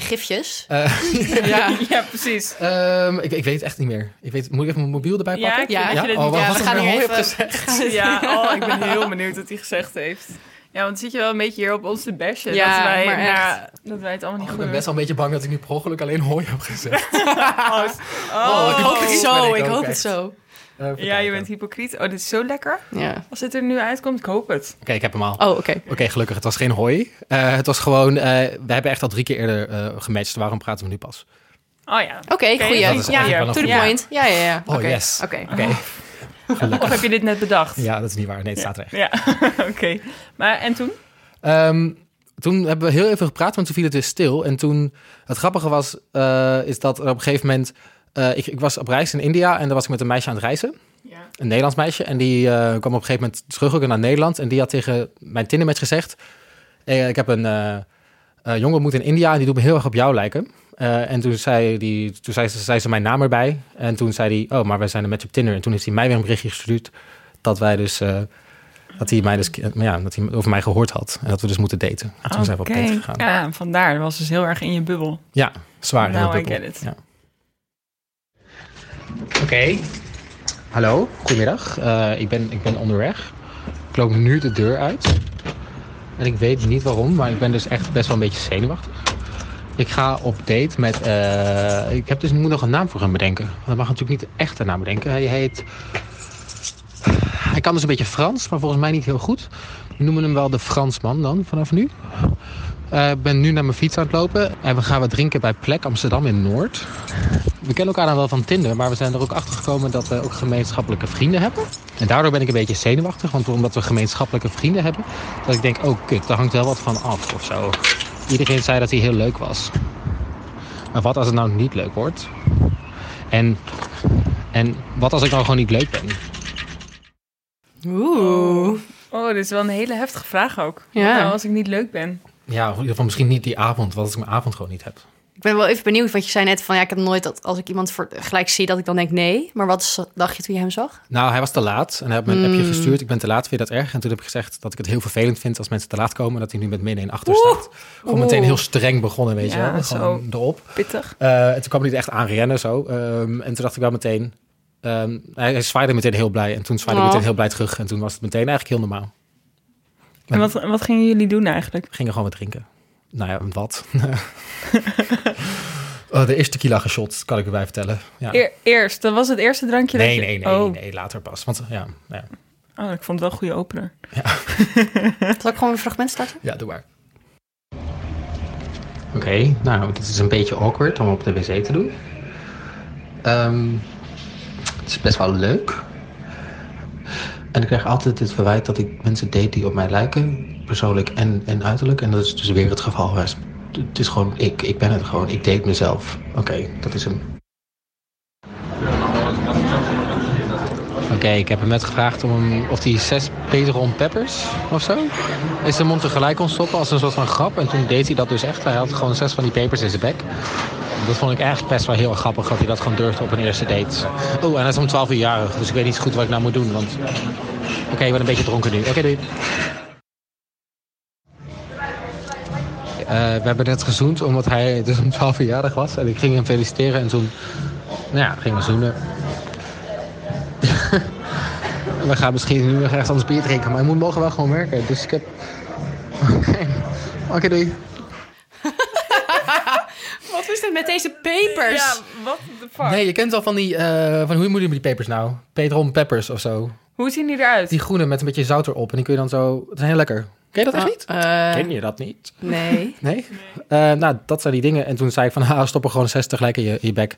[SPEAKER 3] gifjes.
[SPEAKER 1] Eh, Oh,
[SPEAKER 2] Ja, ja precies.
[SPEAKER 1] Ehm, ik, ik weet het echt niet meer. Ik weet, moet ik even mijn mobiel erbij
[SPEAKER 2] Ja,
[SPEAKER 1] pakken?
[SPEAKER 2] ik vind dat je dit
[SPEAKER 1] Oh,
[SPEAKER 2] niet-
[SPEAKER 1] wat
[SPEAKER 3] ja,
[SPEAKER 1] was
[SPEAKER 3] we
[SPEAKER 1] het
[SPEAKER 3] gaan
[SPEAKER 1] weer
[SPEAKER 3] hier
[SPEAKER 1] mooi
[SPEAKER 3] even-
[SPEAKER 1] gezegd?
[SPEAKER 2] Ja, oh, ik ben heel benieuwd wat hij gezegd heeft. Ja, want zit je wel een beetje hier op ons te bashen.
[SPEAKER 3] Ja,
[SPEAKER 2] dat, wij,
[SPEAKER 3] maar echt.
[SPEAKER 2] ja, dat wij het allemaal niet
[SPEAKER 1] Oh, Ik
[SPEAKER 2] goed
[SPEAKER 1] ben best wel een beetje bang dat ik nu per ongeluk alleen hooi heb gezegd.
[SPEAKER 2] Oh,
[SPEAKER 3] ik hoop het
[SPEAKER 1] ben
[SPEAKER 3] zo,
[SPEAKER 1] ik
[SPEAKER 3] ik
[SPEAKER 1] ook
[SPEAKER 3] hoop het
[SPEAKER 1] echt.
[SPEAKER 3] zo.
[SPEAKER 1] Eh, even
[SPEAKER 2] Ja, je
[SPEAKER 1] kijken.
[SPEAKER 2] bent hypocriet. Oh, dit is zo lekker.
[SPEAKER 3] Ja.
[SPEAKER 2] Als dit er nu uitkomt, ik hoop het.
[SPEAKER 1] Oké, ik heb hem al.
[SPEAKER 3] Oh, oké.
[SPEAKER 1] Oké, gelukkig. Het was geen hooi. Eh, het was gewoon... eh, we hebben echt al drie keer eerder eh, gematcht. Waarom praten we nu pas?
[SPEAKER 2] Oh ja.
[SPEAKER 3] Oké,
[SPEAKER 2] Oké,
[SPEAKER 3] goeie.
[SPEAKER 2] dat is
[SPEAKER 3] Ja,
[SPEAKER 1] eigenlijk wel een
[SPEAKER 3] to the
[SPEAKER 2] goeie.
[SPEAKER 3] point. Ja, ja, ja.
[SPEAKER 1] Oh,
[SPEAKER 3] Oké,
[SPEAKER 1] yes.
[SPEAKER 3] Oké.
[SPEAKER 1] Oké.
[SPEAKER 2] Oh. Of heb je dit net bedacht?
[SPEAKER 1] Ja, dat is niet waar. Nee, het staat er echt.
[SPEAKER 2] Ja, oké. Maar en toen?
[SPEAKER 1] Ehm, toen hebben we heel even gepraat, want toen viel het weer stil. En toen, het grappige was, eh, is dat er op een gegeven moment... eh, ik, ik was op reis in India en daar was ik met een meisje aan het reizen.
[SPEAKER 2] Ja.
[SPEAKER 1] Een Nederlands meisje. En die eh, kwam op een gegeven moment terug ook naar Nederland. En die had tegen mijn Tindermatch gezegd... eh, ik heb een eh, eh, jongen ontmoet in India en die doet me heel erg op jou lijken. Eh, en toen, zei, die, toen zei, ze, zei ze mijn naam erbij. En toen zei hij, oh, maar wij zijn een match op Tinder. En toen heeft hij mij weer een berichtje gestuurd dat wij dus... eh, dat hij, mij dus, ja, dat hij over mij gehoord had. En dat we dus moeten daten. En toen zijn we op date gegaan. Ja,
[SPEAKER 2] Ja, vandaar. Dat was dus heel erg in je bubbel.
[SPEAKER 1] zwaar. heel
[SPEAKER 2] Now I
[SPEAKER 1] dubbel.
[SPEAKER 2] get it.
[SPEAKER 1] Ja. Oké. Hallo, goedemiddag. Eh, ik, ben, ik ben onderweg. Ik loop nu de deur uit. En ik weet niet waarom, maar ik ben dus echt best wel een beetje zenuwachtig. Ik ga op date met... eh, ik heb dus, moet nog een naam voor hem bedenken. Want hij mag natuurlijk niet echt een naam bedenken. Hij heet... Hij kan dus een beetje Frans, maar volgens mij niet heel goed. We noemen hem wel de Fransman dan, vanaf nu. Eh, Ik ben nu naar mijn fiets aan het lopen. En we gaan wat drinken bij Plek Amsterdam in Noord. We kennen elkaar dan wel van Tinder, maar we zijn er ook achter gekomen dat we ook gemeenschappelijke vrienden hebben. En daardoor ben ik een beetje zenuwachtig, want omdat we gemeenschappelijke vrienden hebben, dat ik denk, oh kut, daar hangt wel wat van af of zo. Iedereen zei dat hij heel leuk was. Maar wat als het nou niet leuk wordt? En, en wat als ik nou gewoon niet leuk ben?
[SPEAKER 3] Oeh.
[SPEAKER 2] Oh, dit is wel een hele heftige vraag ook.
[SPEAKER 3] Ja.
[SPEAKER 2] Wat Nou, als ik niet leuk ben.
[SPEAKER 1] Ja, in ieder geval misschien niet die avond, wat als ik mijn avond gewoon niet heb.
[SPEAKER 3] Ik ben wel even benieuwd, want je zei net van... ja, ik heb nooit dat als ik iemand voor, gelijk zie dat ik dan denk nee. Maar wat is- dacht je toen je hem zag?
[SPEAKER 1] Nou, hij was te laat en hij had me een
[SPEAKER 3] Mm.
[SPEAKER 1] appje gestuurd. Ik ben te laat, vind je dat erg? En toen heb ik gezegd dat ik het heel vervelend vind als mensen te laat komen. En dat hij nu met midden in achter staat. Gewoon
[SPEAKER 3] Oeh.
[SPEAKER 1] meteen heel streng begonnen, weet
[SPEAKER 2] Ja,
[SPEAKER 1] je wel. Gewoon erop.
[SPEAKER 2] Pittig.
[SPEAKER 1] Eh, en toen kwam hij er echt aan rennen zo. Ehm, en toen dacht ik wel meteen... ehm, hij, hij zwaaide meteen heel blij. En toen zwaaide ik
[SPEAKER 3] Oh.
[SPEAKER 1] meteen heel blij terug. En toen was het meteen eigenlijk heel normaal.
[SPEAKER 2] En wat, wat gingen jullie doen eigenlijk?
[SPEAKER 1] We gingen gewoon wat drinken. Nou ja, wat? Eh, de eerste tequila geshot, kan ik erbij vertellen. Ja.
[SPEAKER 2] Eer- E-, eerst, dat was het eerste drankje dat
[SPEAKER 1] Oh. Nee,
[SPEAKER 2] je...
[SPEAKER 1] nee, nee,
[SPEAKER 2] oh.
[SPEAKER 1] nee, later pas. Want eh, ja, ja,
[SPEAKER 2] Oh, ik vond het wel een goede opener.
[SPEAKER 3] Zal ik gewoon een fragment starten?
[SPEAKER 1] Ja, doe maar. Oké, nou, dit is een beetje awkward om op de wc te doen. Ehm, het is best wel leuk. En ik krijg altijd het verwijt dat ik mensen date die op mij lijken, persoonlijk en, en uiterlijk. En dat is dus weer het geval. Het is- Het is gewoon ik, ik ben het gewoon, ik date mezelf. Oké, dat is hem. Oké, ik heb hem net gevraagd om hem- of hij zes Peteron Peppers of zo in zijn mond tegelijk kon stoppen als een soort van grap. En toen deed hij dat dus echt. Hij had gewoon zes van die pepers in zijn bek. Dat vond ik echt best wel heel erg grappig dat hij dat gewoon durfde op een eerste date. Oh, en hij is om 12 uur jarig, dus ik weet niet zo goed wat ik nou moet doen. Want oké, ik ben een beetje dronken nu. Oké, doei. Eh, we hebben net gezoend omdat hij dus om 12 uur jarig was. En ik ging hem feliciteren en toen, nou ja, gingen we zoenen. We gaan misschien nu nog ergens anders bier drinken, maar ik moet morgen wel gewoon werken. Dus ik heb. Oké, Oké, doei.
[SPEAKER 3] Wat is dit met deze papers?
[SPEAKER 2] wat de fuck?
[SPEAKER 1] Nee, je kent wel van die. eh, van hoe moet je die peppers nou? Pedron peppers of zo.
[SPEAKER 2] Hoe zien die eruit?
[SPEAKER 1] Die groene met een beetje zout erop. En die kun je dan zo. Dat is heel lekker. Ken
[SPEAKER 3] Ah,
[SPEAKER 1] je dat echt niet?
[SPEAKER 3] eh,
[SPEAKER 1] Ken je dat niet?
[SPEAKER 3] nee.
[SPEAKER 1] Nee? Eh, nou, dat zijn die dingen. En toen zei ik van, ha, stop er gewoon 60 gelijk in je, in je bek.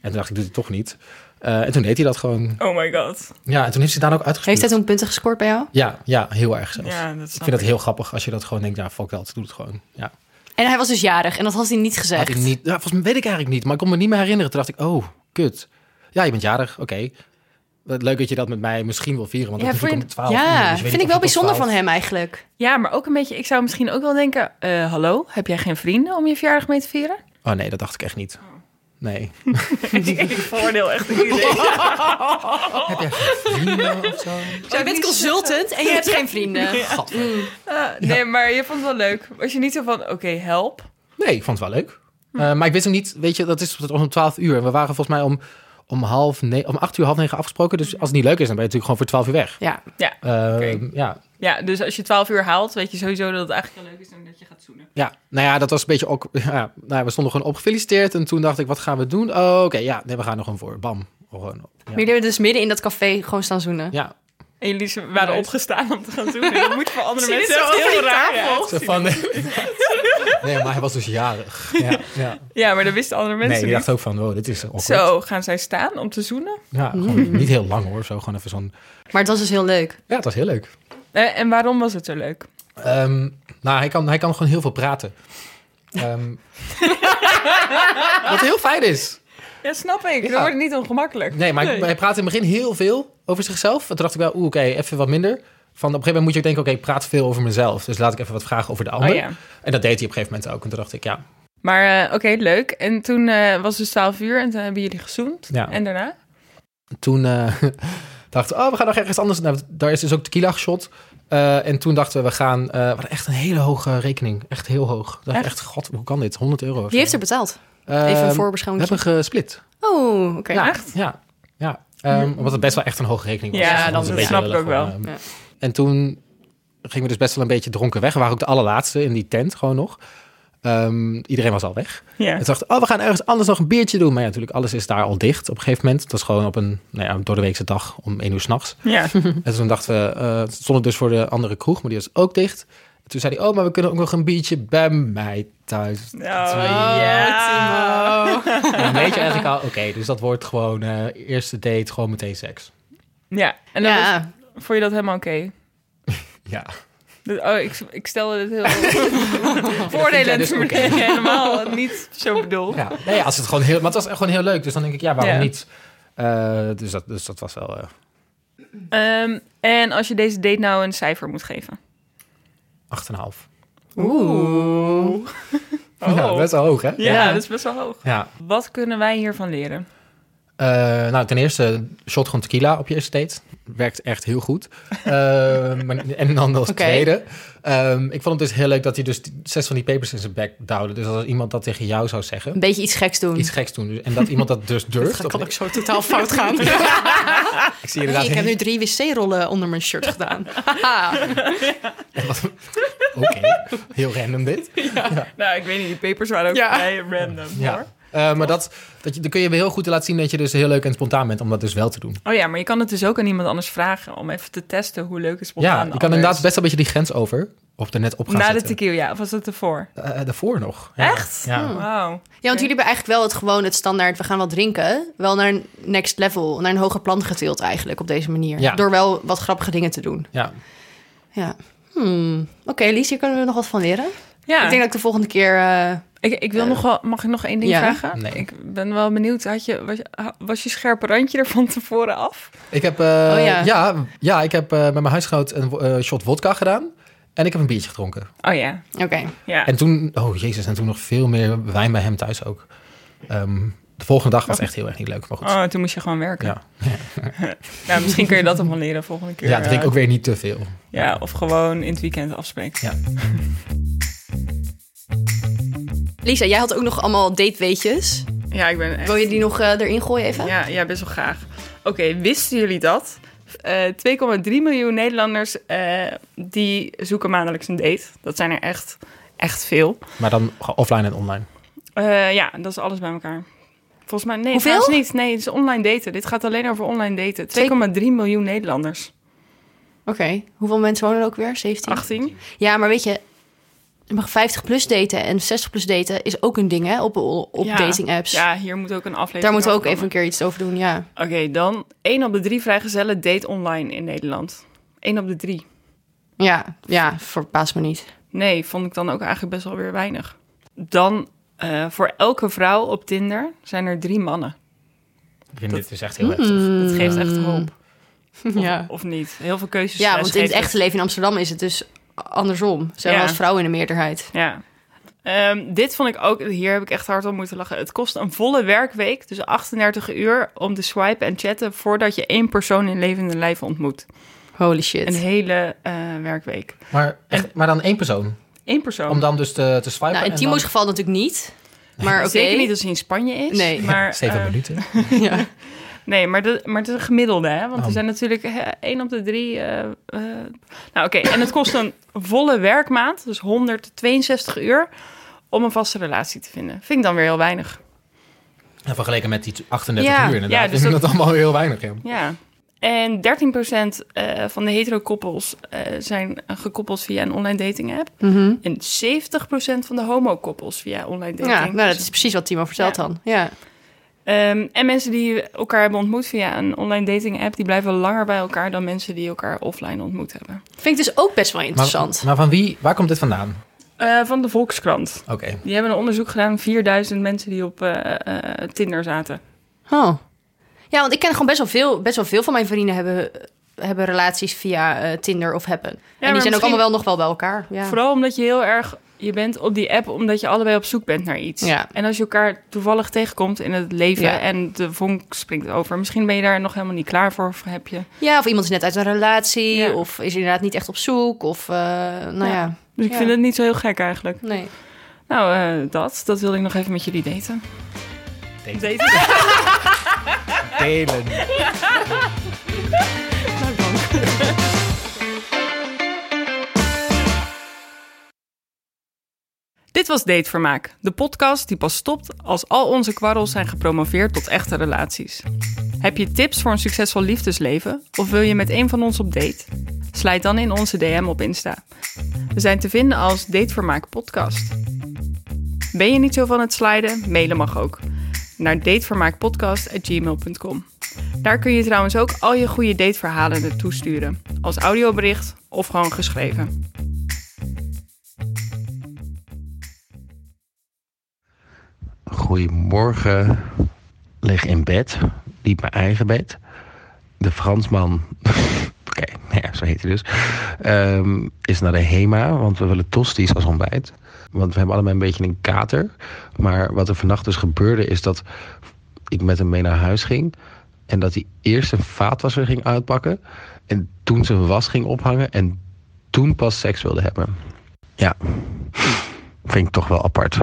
[SPEAKER 1] En toen dacht ik, doe het toch niet. Eh, en toen deed hij dat gewoon.
[SPEAKER 2] Oh my god.
[SPEAKER 1] Ja, en toen heeft hij daar ook
[SPEAKER 3] Heeft
[SPEAKER 1] uitgespeeld.
[SPEAKER 3] hij toen punten gescoord bij jou?
[SPEAKER 1] Ja, ja, heel erg zelfs.
[SPEAKER 2] Ja, dat
[SPEAKER 1] ik
[SPEAKER 2] snap
[SPEAKER 1] vind dat heel grappig als je dat gewoon denkt, ja, fuck dat, doe het gewoon. Ja.
[SPEAKER 3] En hij was dus jarig en dat had hij niet gezegd.
[SPEAKER 1] Had ik niet, ja, volgens mij weet ik eigenlijk niet, maar ik kon me niet meer herinneren. Toen dacht ik, oh, kut. Ja, je bent jarig, oké. Wat Leuk dat je dat met mij misschien wil vieren, want
[SPEAKER 2] Ja,
[SPEAKER 1] dat is natuurlijk om
[SPEAKER 2] vind-
[SPEAKER 1] 12 uur, dus
[SPEAKER 3] Ja,
[SPEAKER 1] je weet
[SPEAKER 3] vind ik
[SPEAKER 1] niet
[SPEAKER 3] wel
[SPEAKER 1] of tot
[SPEAKER 3] bijzonder van
[SPEAKER 1] 12
[SPEAKER 3] hem eigenlijk.
[SPEAKER 2] Ja, maar ook een beetje... Ik zou misschien ook wel denken... eh, hallo, heb jij geen vrienden om je verjaardag mee te vieren?
[SPEAKER 1] Oh nee, dat dacht ik echt niet. Nee.
[SPEAKER 2] ik voordeel echt niet.
[SPEAKER 1] Heb jij geen vrienden of zo?
[SPEAKER 3] je bent consultant en je hebt geen vrienden.
[SPEAKER 2] Ah, nee, maar je vond het wel leuk. Was je niet zo van, oké, help.
[SPEAKER 1] Nee, ik vond het wel leuk.
[SPEAKER 3] Hm.
[SPEAKER 1] Eh, maar ik wist hem niet, weet je, dat is tot- om 12 uur. En we waren volgens mij om, om, half ne- om 8 uur, half negen afgesproken. Dus als het niet leuk is, dan ben je natuurlijk gewoon voor 12 uur weg.
[SPEAKER 3] Ja,
[SPEAKER 2] Ja.
[SPEAKER 1] Eh,
[SPEAKER 2] Oké.
[SPEAKER 1] Ja,
[SPEAKER 2] Ja, dus als je 12 uur haalt, weet je sowieso dat het eigenlijk heel leuk is en dat je gaat zoenen.
[SPEAKER 1] Ja, nou ja, dat was een beetje ook. Ja, nou ja, we stonden gewoon opgefeliciteerd. En toen dacht ik, wat gaan we doen? Oh, oké, ja, nee, we gaan er gewoon voor. Bam. Gewoon,
[SPEAKER 3] Maar
[SPEAKER 1] ja.
[SPEAKER 3] jullie hebben dus midden in dat café gewoon staan zoenen.
[SPEAKER 1] ja.
[SPEAKER 2] En jullie z- waren opgestaan om te gaan zoenen. Dat moet voor andere
[SPEAKER 3] Zie je
[SPEAKER 2] mensen
[SPEAKER 3] dit zo
[SPEAKER 2] ook
[SPEAKER 3] over
[SPEAKER 2] heel
[SPEAKER 3] die
[SPEAKER 2] raar
[SPEAKER 3] tafel?
[SPEAKER 2] uitzien.
[SPEAKER 1] Zo van, nee, maar hij was dus jarig. Ja, ja.
[SPEAKER 2] Ja, maar dat wisten andere
[SPEAKER 1] Nee,
[SPEAKER 2] mensen
[SPEAKER 1] ik
[SPEAKER 2] niet.
[SPEAKER 1] dacht ook van, wow, dit is awkward.
[SPEAKER 2] Zo, gaan zij staan om te zoenen?
[SPEAKER 1] Ja, gewoon niet heel lang hoor. Zo gewoon even zo'n...
[SPEAKER 3] Maar het was dus heel leuk.
[SPEAKER 1] Ja, het was heel leuk.
[SPEAKER 2] Eh, en waarom was het zo leuk?
[SPEAKER 1] Ehm, nou, hij kan, hij kan gewoon heel veel praten. Ehm, wat heel fijn is.
[SPEAKER 2] Ja, snap ik.
[SPEAKER 1] Ja.
[SPEAKER 2] Dat wordt niet ongemakkelijk.
[SPEAKER 1] Nee, maar hij- hij praatte in het begin heel veel over zichzelf. En toen dacht ik wel, oeh, oké, even wat minder. Van op een gegeven moment moet je ook denken, oké, ik praat veel over mezelf. Dus laat ik even wat vragen over de ander.
[SPEAKER 2] Oh, ja.
[SPEAKER 1] En dat deed hij op een gegeven moment ook. En toen dacht ik, ja,
[SPEAKER 2] Maar eh, oké, leuk. En toen eh, was het 12 uur en toen hebben jullie gezoend.
[SPEAKER 1] Ja.
[SPEAKER 2] En daarna?
[SPEAKER 1] toen eh, dachten we, oh, we gaan nog ergens anders. Nou, daar is dus ook tequila shot. en toen dachten we, we gaan... eh, we hadden echt een hele hoge rekening. Echt heel hoog. Ik dacht
[SPEAKER 2] Echt?
[SPEAKER 1] echt, god, hoe kan dit? 100 euro. of
[SPEAKER 3] Wie heeft
[SPEAKER 1] zo.
[SPEAKER 3] er betaald?
[SPEAKER 1] Ehm,
[SPEAKER 3] Even een
[SPEAKER 1] We Nou,
[SPEAKER 3] voorbeschouwing.
[SPEAKER 1] hebben gesplit.
[SPEAKER 3] Oh, oké.
[SPEAKER 1] Ja,
[SPEAKER 2] Echt? Hm.
[SPEAKER 1] Ja, ja. Ehm, omdat het best wel echt een hoge rekening was.
[SPEAKER 2] Ja,
[SPEAKER 1] Dus
[SPEAKER 2] dat
[SPEAKER 1] was een beetje
[SPEAKER 2] snap ik ook
[SPEAKER 1] lullig,
[SPEAKER 2] wel.
[SPEAKER 1] maar, ehm,
[SPEAKER 3] Ja.
[SPEAKER 1] En toen gingen we dus best wel een beetje dronken weg. We waren ook de allerlaatste in die tent gewoon nog. Ehm, iedereen was al weg.
[SPEAKER 2] Ja.
[SPEAKER 1] En toen dachten, oh, we gaan ergens anders nog een biertje doen. Maar ja, natuurlijk, alles is daar al dicht op een gegeven moment. Het was gewoon op een nou ja, doordeweekse dag om één uur s'nachts.
[SPEAKER 2] Ja.
[SPEAKER 1] En toen dachten we, eh, het stond dus voor de andere kroeg, maar die was ook dicht. En toen zei hij, oh, maar we kunnen ook nog een biertje bij mij thuis.
[SPEAKER 2] Oh,
[SPEAKER 3] ja,
[SPEAKER 1] En dan weet je eigenlijk al, oké, dus dat wordt gewoon eh, eerste date, gewoon meteen seks.
[SPEAKER 2] Ja. En dan
[SPEAKER 3] Ja.
[SPEAKER 2] was- vond je dat helemaal oké?
[SPEAKER 1] Ja.
[SPEAKER 2] Dat- Oh, ik, ik stelde het heel voordelen
[SPEAKER 1] dus oké.
[SPEAKER 2] helemaal niet zo bedoeld.
[SPEAKER 1] Ja, nee, ja, als het gewoon heel, maar het was echt gewoon heel leuk. Dus dan denk ik, ja, waarom
[SPEAKER 2] Ja.
[SPEAKER 1] niet? Eh, dus, dat, dus dat was wel. eh,
[SPEAKER 2] Ehm, en als je deze date nou een cijfer moet geven?
[SPEAKER 1] 8,5.
[SPEAKER 2] Oeh. Oh.
[SPEAKER 1] Ja, best wel hoog, hè?
[SPEAKER 2] Ja,
[SPEAKER 3] Ja.
[SPEAKER 2] dat is best wel hoog.
[SPEAKER 1] Ja.
[SPEAKER 2] Wat kunnen wij hiervan leren?
[SPEAKER 1] Eh, nou, ten eerste, shot gewoon tequila op je eerste date. Werkt echt heel goed. Eh, maar, en dan als
[SPEAKER 3] Oké.
[SPEAKER 1] tweede. ehm, ik vond het dus heel leuk dat hij dus die- zes van die papers in zijn bek duwde. Dus als iemand dat tegen jou zou zeggen,
[SPEAKER 3] Een beetje iets geks doen.
[SPEAKER 1] iets geks doen. Dus- En dat iemand dat dus durft.
[SPEAKER 3] dat
[SPEAKER 1] Op-
[SPEAKER 3] kan ook zo totaal fout gaan.
[SPEAKER 1] ik zie
[SPEAKER 3] Hey,
[SPEAKER 1] inderdaad
[SPEAKER 3] ik heb nu
[SPEAKER 1] heel-
[SPEAKER 3] drie wc-rollen onder mijn shirt gedaan. Haha.
[SPEAKER 1] Oké, heel random dit.
[SPEAKER 2] Nou, ik weet niet. Die papers waren ook
[SPEAKER 3] Ja.
[SPEAKER 2] vrij random,
[SPEAKER 1] Ja.
[SPEAKER 2] hoor.
[SPEAKER 1] Eh, maar dat, dat je, dan kun je weer heel goed laten zien dat je dus heel leuk en spontaan bent om dat dus wel te doen.
[SPEAKER 2] Oh ja, maar je kan het dus ook aan iemand anders vragen... om even te testen hoe leuk is spontaan
[SPEAKER 1] Ja,
[SPEAKER 2] de
[SPEAKER 1] je kan
[SPEAKER 2] ander
[SPEAKER 1] inderdaad
[SPEAKER 2] is.
[SPEAKER 1] best een beetje die grens over. Of er net op gaan
[SPEAKER 2] Na de
[SPEAKER 1] zitten.
[SPEAKER 2] tequila, ja. Of was dat ervoor?
[SPEAKER 1] Eh, daarvoor nog. Ja.
[SPEAKER 2] Echt? Hmm.
[SPEAKER 1] Ja.
[SPEAKER 2] Wauw.
[SPEAKER 3] Ja, want jullie hebben eigenlijk wel het gewoon het standaard, we gaan wat drinken, wel naar een next level, naar een hoger plan getild eigenlijk op deze manier.
[SPEAKER 1] Ja.
[SPEAKER 3] Door wel wat grappige dingen te doen.
[SPEAKER 1] ja.
[SPEAKER 3] Ja. Hmm. Oké, Lies, hier kunnen we nog wat van leren.
[SPEAKER 2] Ja,
[SPEAKER 3] Ik denk dat ik de volgende keer... eh,
[SPEAKER 2] ik, ik wil nog wel... Mag ik nog één ding
[SPEAKER 3] ja.
[SPEAKER 2] vragen?
[SPEAKER 1] Nee.
[SPEAKER 2] Ik ben wel benieuwd. Had je, was, je, was je scherpe randje er van tevoren af?
[SPEAKER 1] Ik heb, eh,
[SPEAKER 3] Oh, ja.
[SPEAKER 1] ja. Ja, ik heb eh, met mijn huisgenoot een wo- eh, shot vodka gedaan. En ik heb een biertje gedronken.
[SPEAKER 2] Oh ja,
[SPEAKER 3] Oké.
[SPEAKER 2] ja.
[SPEAKER 1] En toen, oh jezus, en toen nog veel meer wijn bij hem thuis ook. Ehm, de volgende dag was echt heel erg niet leuk, maar goed.
[SPEAKER 2] Oh, toen moest je gewoon werken.
[SPEAKER 1] Ja.
[SPEAKER 2] Nou, misschien kun je dat allemaal leren volgende keer.
[SPEAKER 1] Ja, drink
[SPEAKER 2] eh,
[SPEAKER 1] ook weer niet te veel.
[SPEAKER 2] Ja, of gewoon in het weekend afspreken.
[SPEAKER 1] Ja.
[SPEAKER 3] Lisa, jij had ook nog allemaal dateweetjes.
[SPEAKER 2] Ja, ik ben echt...
[SPEAKER 3] Wil je die nog eh, erin gooien even?
[SPEAKER 2] Ja, ja, best wel graag. Oké, wisten jullie dat? Eh, 2,3 miljoen Nederlanders eh, die zoeken maandelijks een date. Dat zijn er echt, echt veel.
[SPEAKER 1] Maar dan offline en online.
[SPEAKER 2] Eh, ja, dat is alles bij elkaar. Volgens mij, nee,
[SPEAKER 3] Hoeveel?
[SPEAKER 2] trouwens niet. Nee, het is online daten. Dit gaat alleen over online daten. 2,3 miljoen Nederlanders.
[SPEAKER 3] Oké. Hoeveel mensen wonen er ook weer? 17?
[SPEAKER 2] 18?
[SPEAKER 3] Ja, maar weet je, je mag 50 plus daten en 60 plus daten is ook een ding hè, op, op
[SPEAKER 2] Ja.
[SPEAKER 3] dating apps.
[SPEAKER 2] Ja, hier moet ook een aflevering
[SPEAKER 3] Daar moeten we ook
[SPEAKER 2] over
[SPEAKER 3] even een keer iets over doen, ja.
[SPEAKER 2] komen. Oké, dan 1 op de 3 vrijgezellen date online in Nederland. 1 op de 3.
[SPEAKER 3] Ja, ja, verbaas me niet.
[SPEAKER 2] Nee, vond ik dan ook eigenlijk best wel weer weinig. Dan, eh, voor elke vrouw op Tinder zijn er drie mannen.
[SPEAKER 1] Ik vind dit is echt heel heftig.
[SPEAKER 2] Dat geeft echt hoop.
[SPEAKER 3] Ja.
[SPEAKER 2] Of niet? Heel veel keuzes.
[SPEAKER 3] Mm. Ja,
[SPEAKER 2] eh,
[SPEAKER 3] want in het
[SPEAKER 2] geeft
[SPEAKER 3] echte leven in Amsterdam is het dus andersom. Zijn we
[SPEAKER 2] Ja.
[SPEAKER 3] als vrouwen in de meerderheid.
[SPEAKER 2] Ja. Ehm, dit vond ik ook, hier heb ik echt hard om moeten lachen. Het kost een volle werkweek, dus 38 uur, om te swipen en chatten voordat je één persoon in levende lijven ontmoet.
[SPEAKER 3] Holy
[SPEAKER 2] Een
[SPEAKER 3] shit.
[SPEAKER 2] hele eh, werkweek.
[SPEAKER 1] Maar, echt, maar dan één persoon.
[SPEAKER 2] Eén persoon.
[SPEAKER 1] Om dan dus te, te swipen.
[SPEAKER 3] Nou, in
[SPEAKER 1] en
[SPEAKER 3] Timo's
[SPEAKER 1] dan-
[SPEAKER 3] geval natuurlijk niet. Maar oké.
[SPEAKER 2] Zeker niet als hij in Spanje is.
[SPEAKER 3] Nee.
[SPEAKER 2] maar,
[SPEAKER 1] Zeven
[SPEAKER 2] eh,
[SPEAKER 1] minuten.
[SPEAKER 3] Ja.
[SPEAKER 2] Nee, maar, de, maar het is een gemiddelde, hè? Want
[SPEAKER 1] Oh.
[SPEAKER 2] er zijn natuurlijk hè, één op de drie. eh, eh, Nou, oké. En het kost een volle werkmaand, dus 162 uur, om een vaste relatie te vinden. Vind ik dan weer heel weinig.
[SPEAKER 1] En vergeleken met die 38
[SPEAKER 3] Ja,
[SPEAKER 1] uur inderdaad,
[SPEAKER 2] ja, dus
[SPEAKER 1] is dat
[SPEAKER 2] dat-
[SPEAKER 1] allemaal heel weinig. Ja.
[SPEAKER 2] Ja. En 13% eh, van de hetero-koppels eh, zijn gekoppeld via een online dating app.
[SPEAKER 3] Mhm.
[SPEAKER 2] En 70% van de homo-koppels via online dating.
[SPEAKER 3] Ja, nou, dat is precies wat Timo vertelt
[SPEAKER 2] dus. Ja.
[SPEAKER 3] dan. Ja.
[SPEAKER 2] Ehm, en mensen die elkaar hebben ontmoet via een online dating app, die blijven langer bij elkaar dan mensen die elkaar offline ontmoet hebben.
[SPEAKER 3] Vind ik dus ook best wel interessant.
[SPEAKER 1] Maar, maar van wie, waar komt dit vandaan?
[SPEAKER 2] Eh, van de Volkskrant.
[SPEAKER 1] Oké.
[SPEAKER 2] Die hebben een onderzoek gedaan, 4000 mensen die op eh, eh, Tinder zaten.
[SPEAKER 3] Oh. Ja, want ik ken gewoon best wel veel, best wel veel van mijn vrienden hebben, hebben relaties via eh, Tinder of Happen. en die zijn
[SPEAKER 2] misschien-
[SPEAKER 3] ook allemaal wel nog wel bij elkaar. Ja.
[SPEAKER 2] Vooral omdat je heel erg, je bent op die app omdat je allebei op zoek bent naar iets.
[SPEAKER 3] Ja.
[SPEAKER 2] En als je elkaar toevallig tegenkomt in het leven
[SPEAKER 3] Ja.
[SPEAKER 2] en de vonk springt over, misschien ben je daar nog helemaal niet klaar voor of heb je.
[SPEAKER 3] ja, of iemand is net uit een relatie,
[SPEAKER 2] Ja.
[SPEAKER 3] of is inderdaad niet echt op zoek, of eh, nou ja.
[SPEAKER 2] Ja. Dus ik
[SPEAKER 3] Ja.
[SPEAKER 2] vind het niet zo heel gek eigenlijk.
[SPEAKER 3] Nee.
[SPEAKER 2] Nou, eh, dat, dat wilde ik nog even met jullie daten.
[SPEAKER 1] Daten.
[SPEAKER 2] Daten.
[SPEAKER 1] Delen.
[SPEAKER 2] Dit was Datevermaak, de podcast die pas stopt als al onze kwarrels zijn gepromoveerd tot echte relaties. Heb je tips voor een succesvol liefdesleven of wil je met een van ons op date? Sluit dan in onze DM op Insta. We zijn te vinden als Datevermaak Podcast. Ben je niet zo van het sliden? Mailen mag ook. Naar datevermaakpodcast.gmail.com Daar kun je trouwens ook al je goede dateverhalen naartoe sturen. Als audiobericht of gewoon geschreven.
[SPEAKER 6] Goedemorgen. Lig in bed. Niet mijn eigen bed. De Fransman. Oké, nou ja, zo heet hij dus. Ehm, is naar de HEMA, want we willen tosti's als ontbijt. Want we hebben allemaal een beetje een kater. Maar wat er vannacht dus gebeurde, is dat ik met hem mee naar huis ging. En dat hij eerst een vaatwasser ging uitpakken. En toen zijn was ging ophangen. En toen pas seks wilde hebben. Ja, vind ik toch wel apart.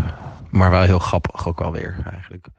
[SPEAKER 6] Maar wel heel grappig ook wel weer eigenlijk.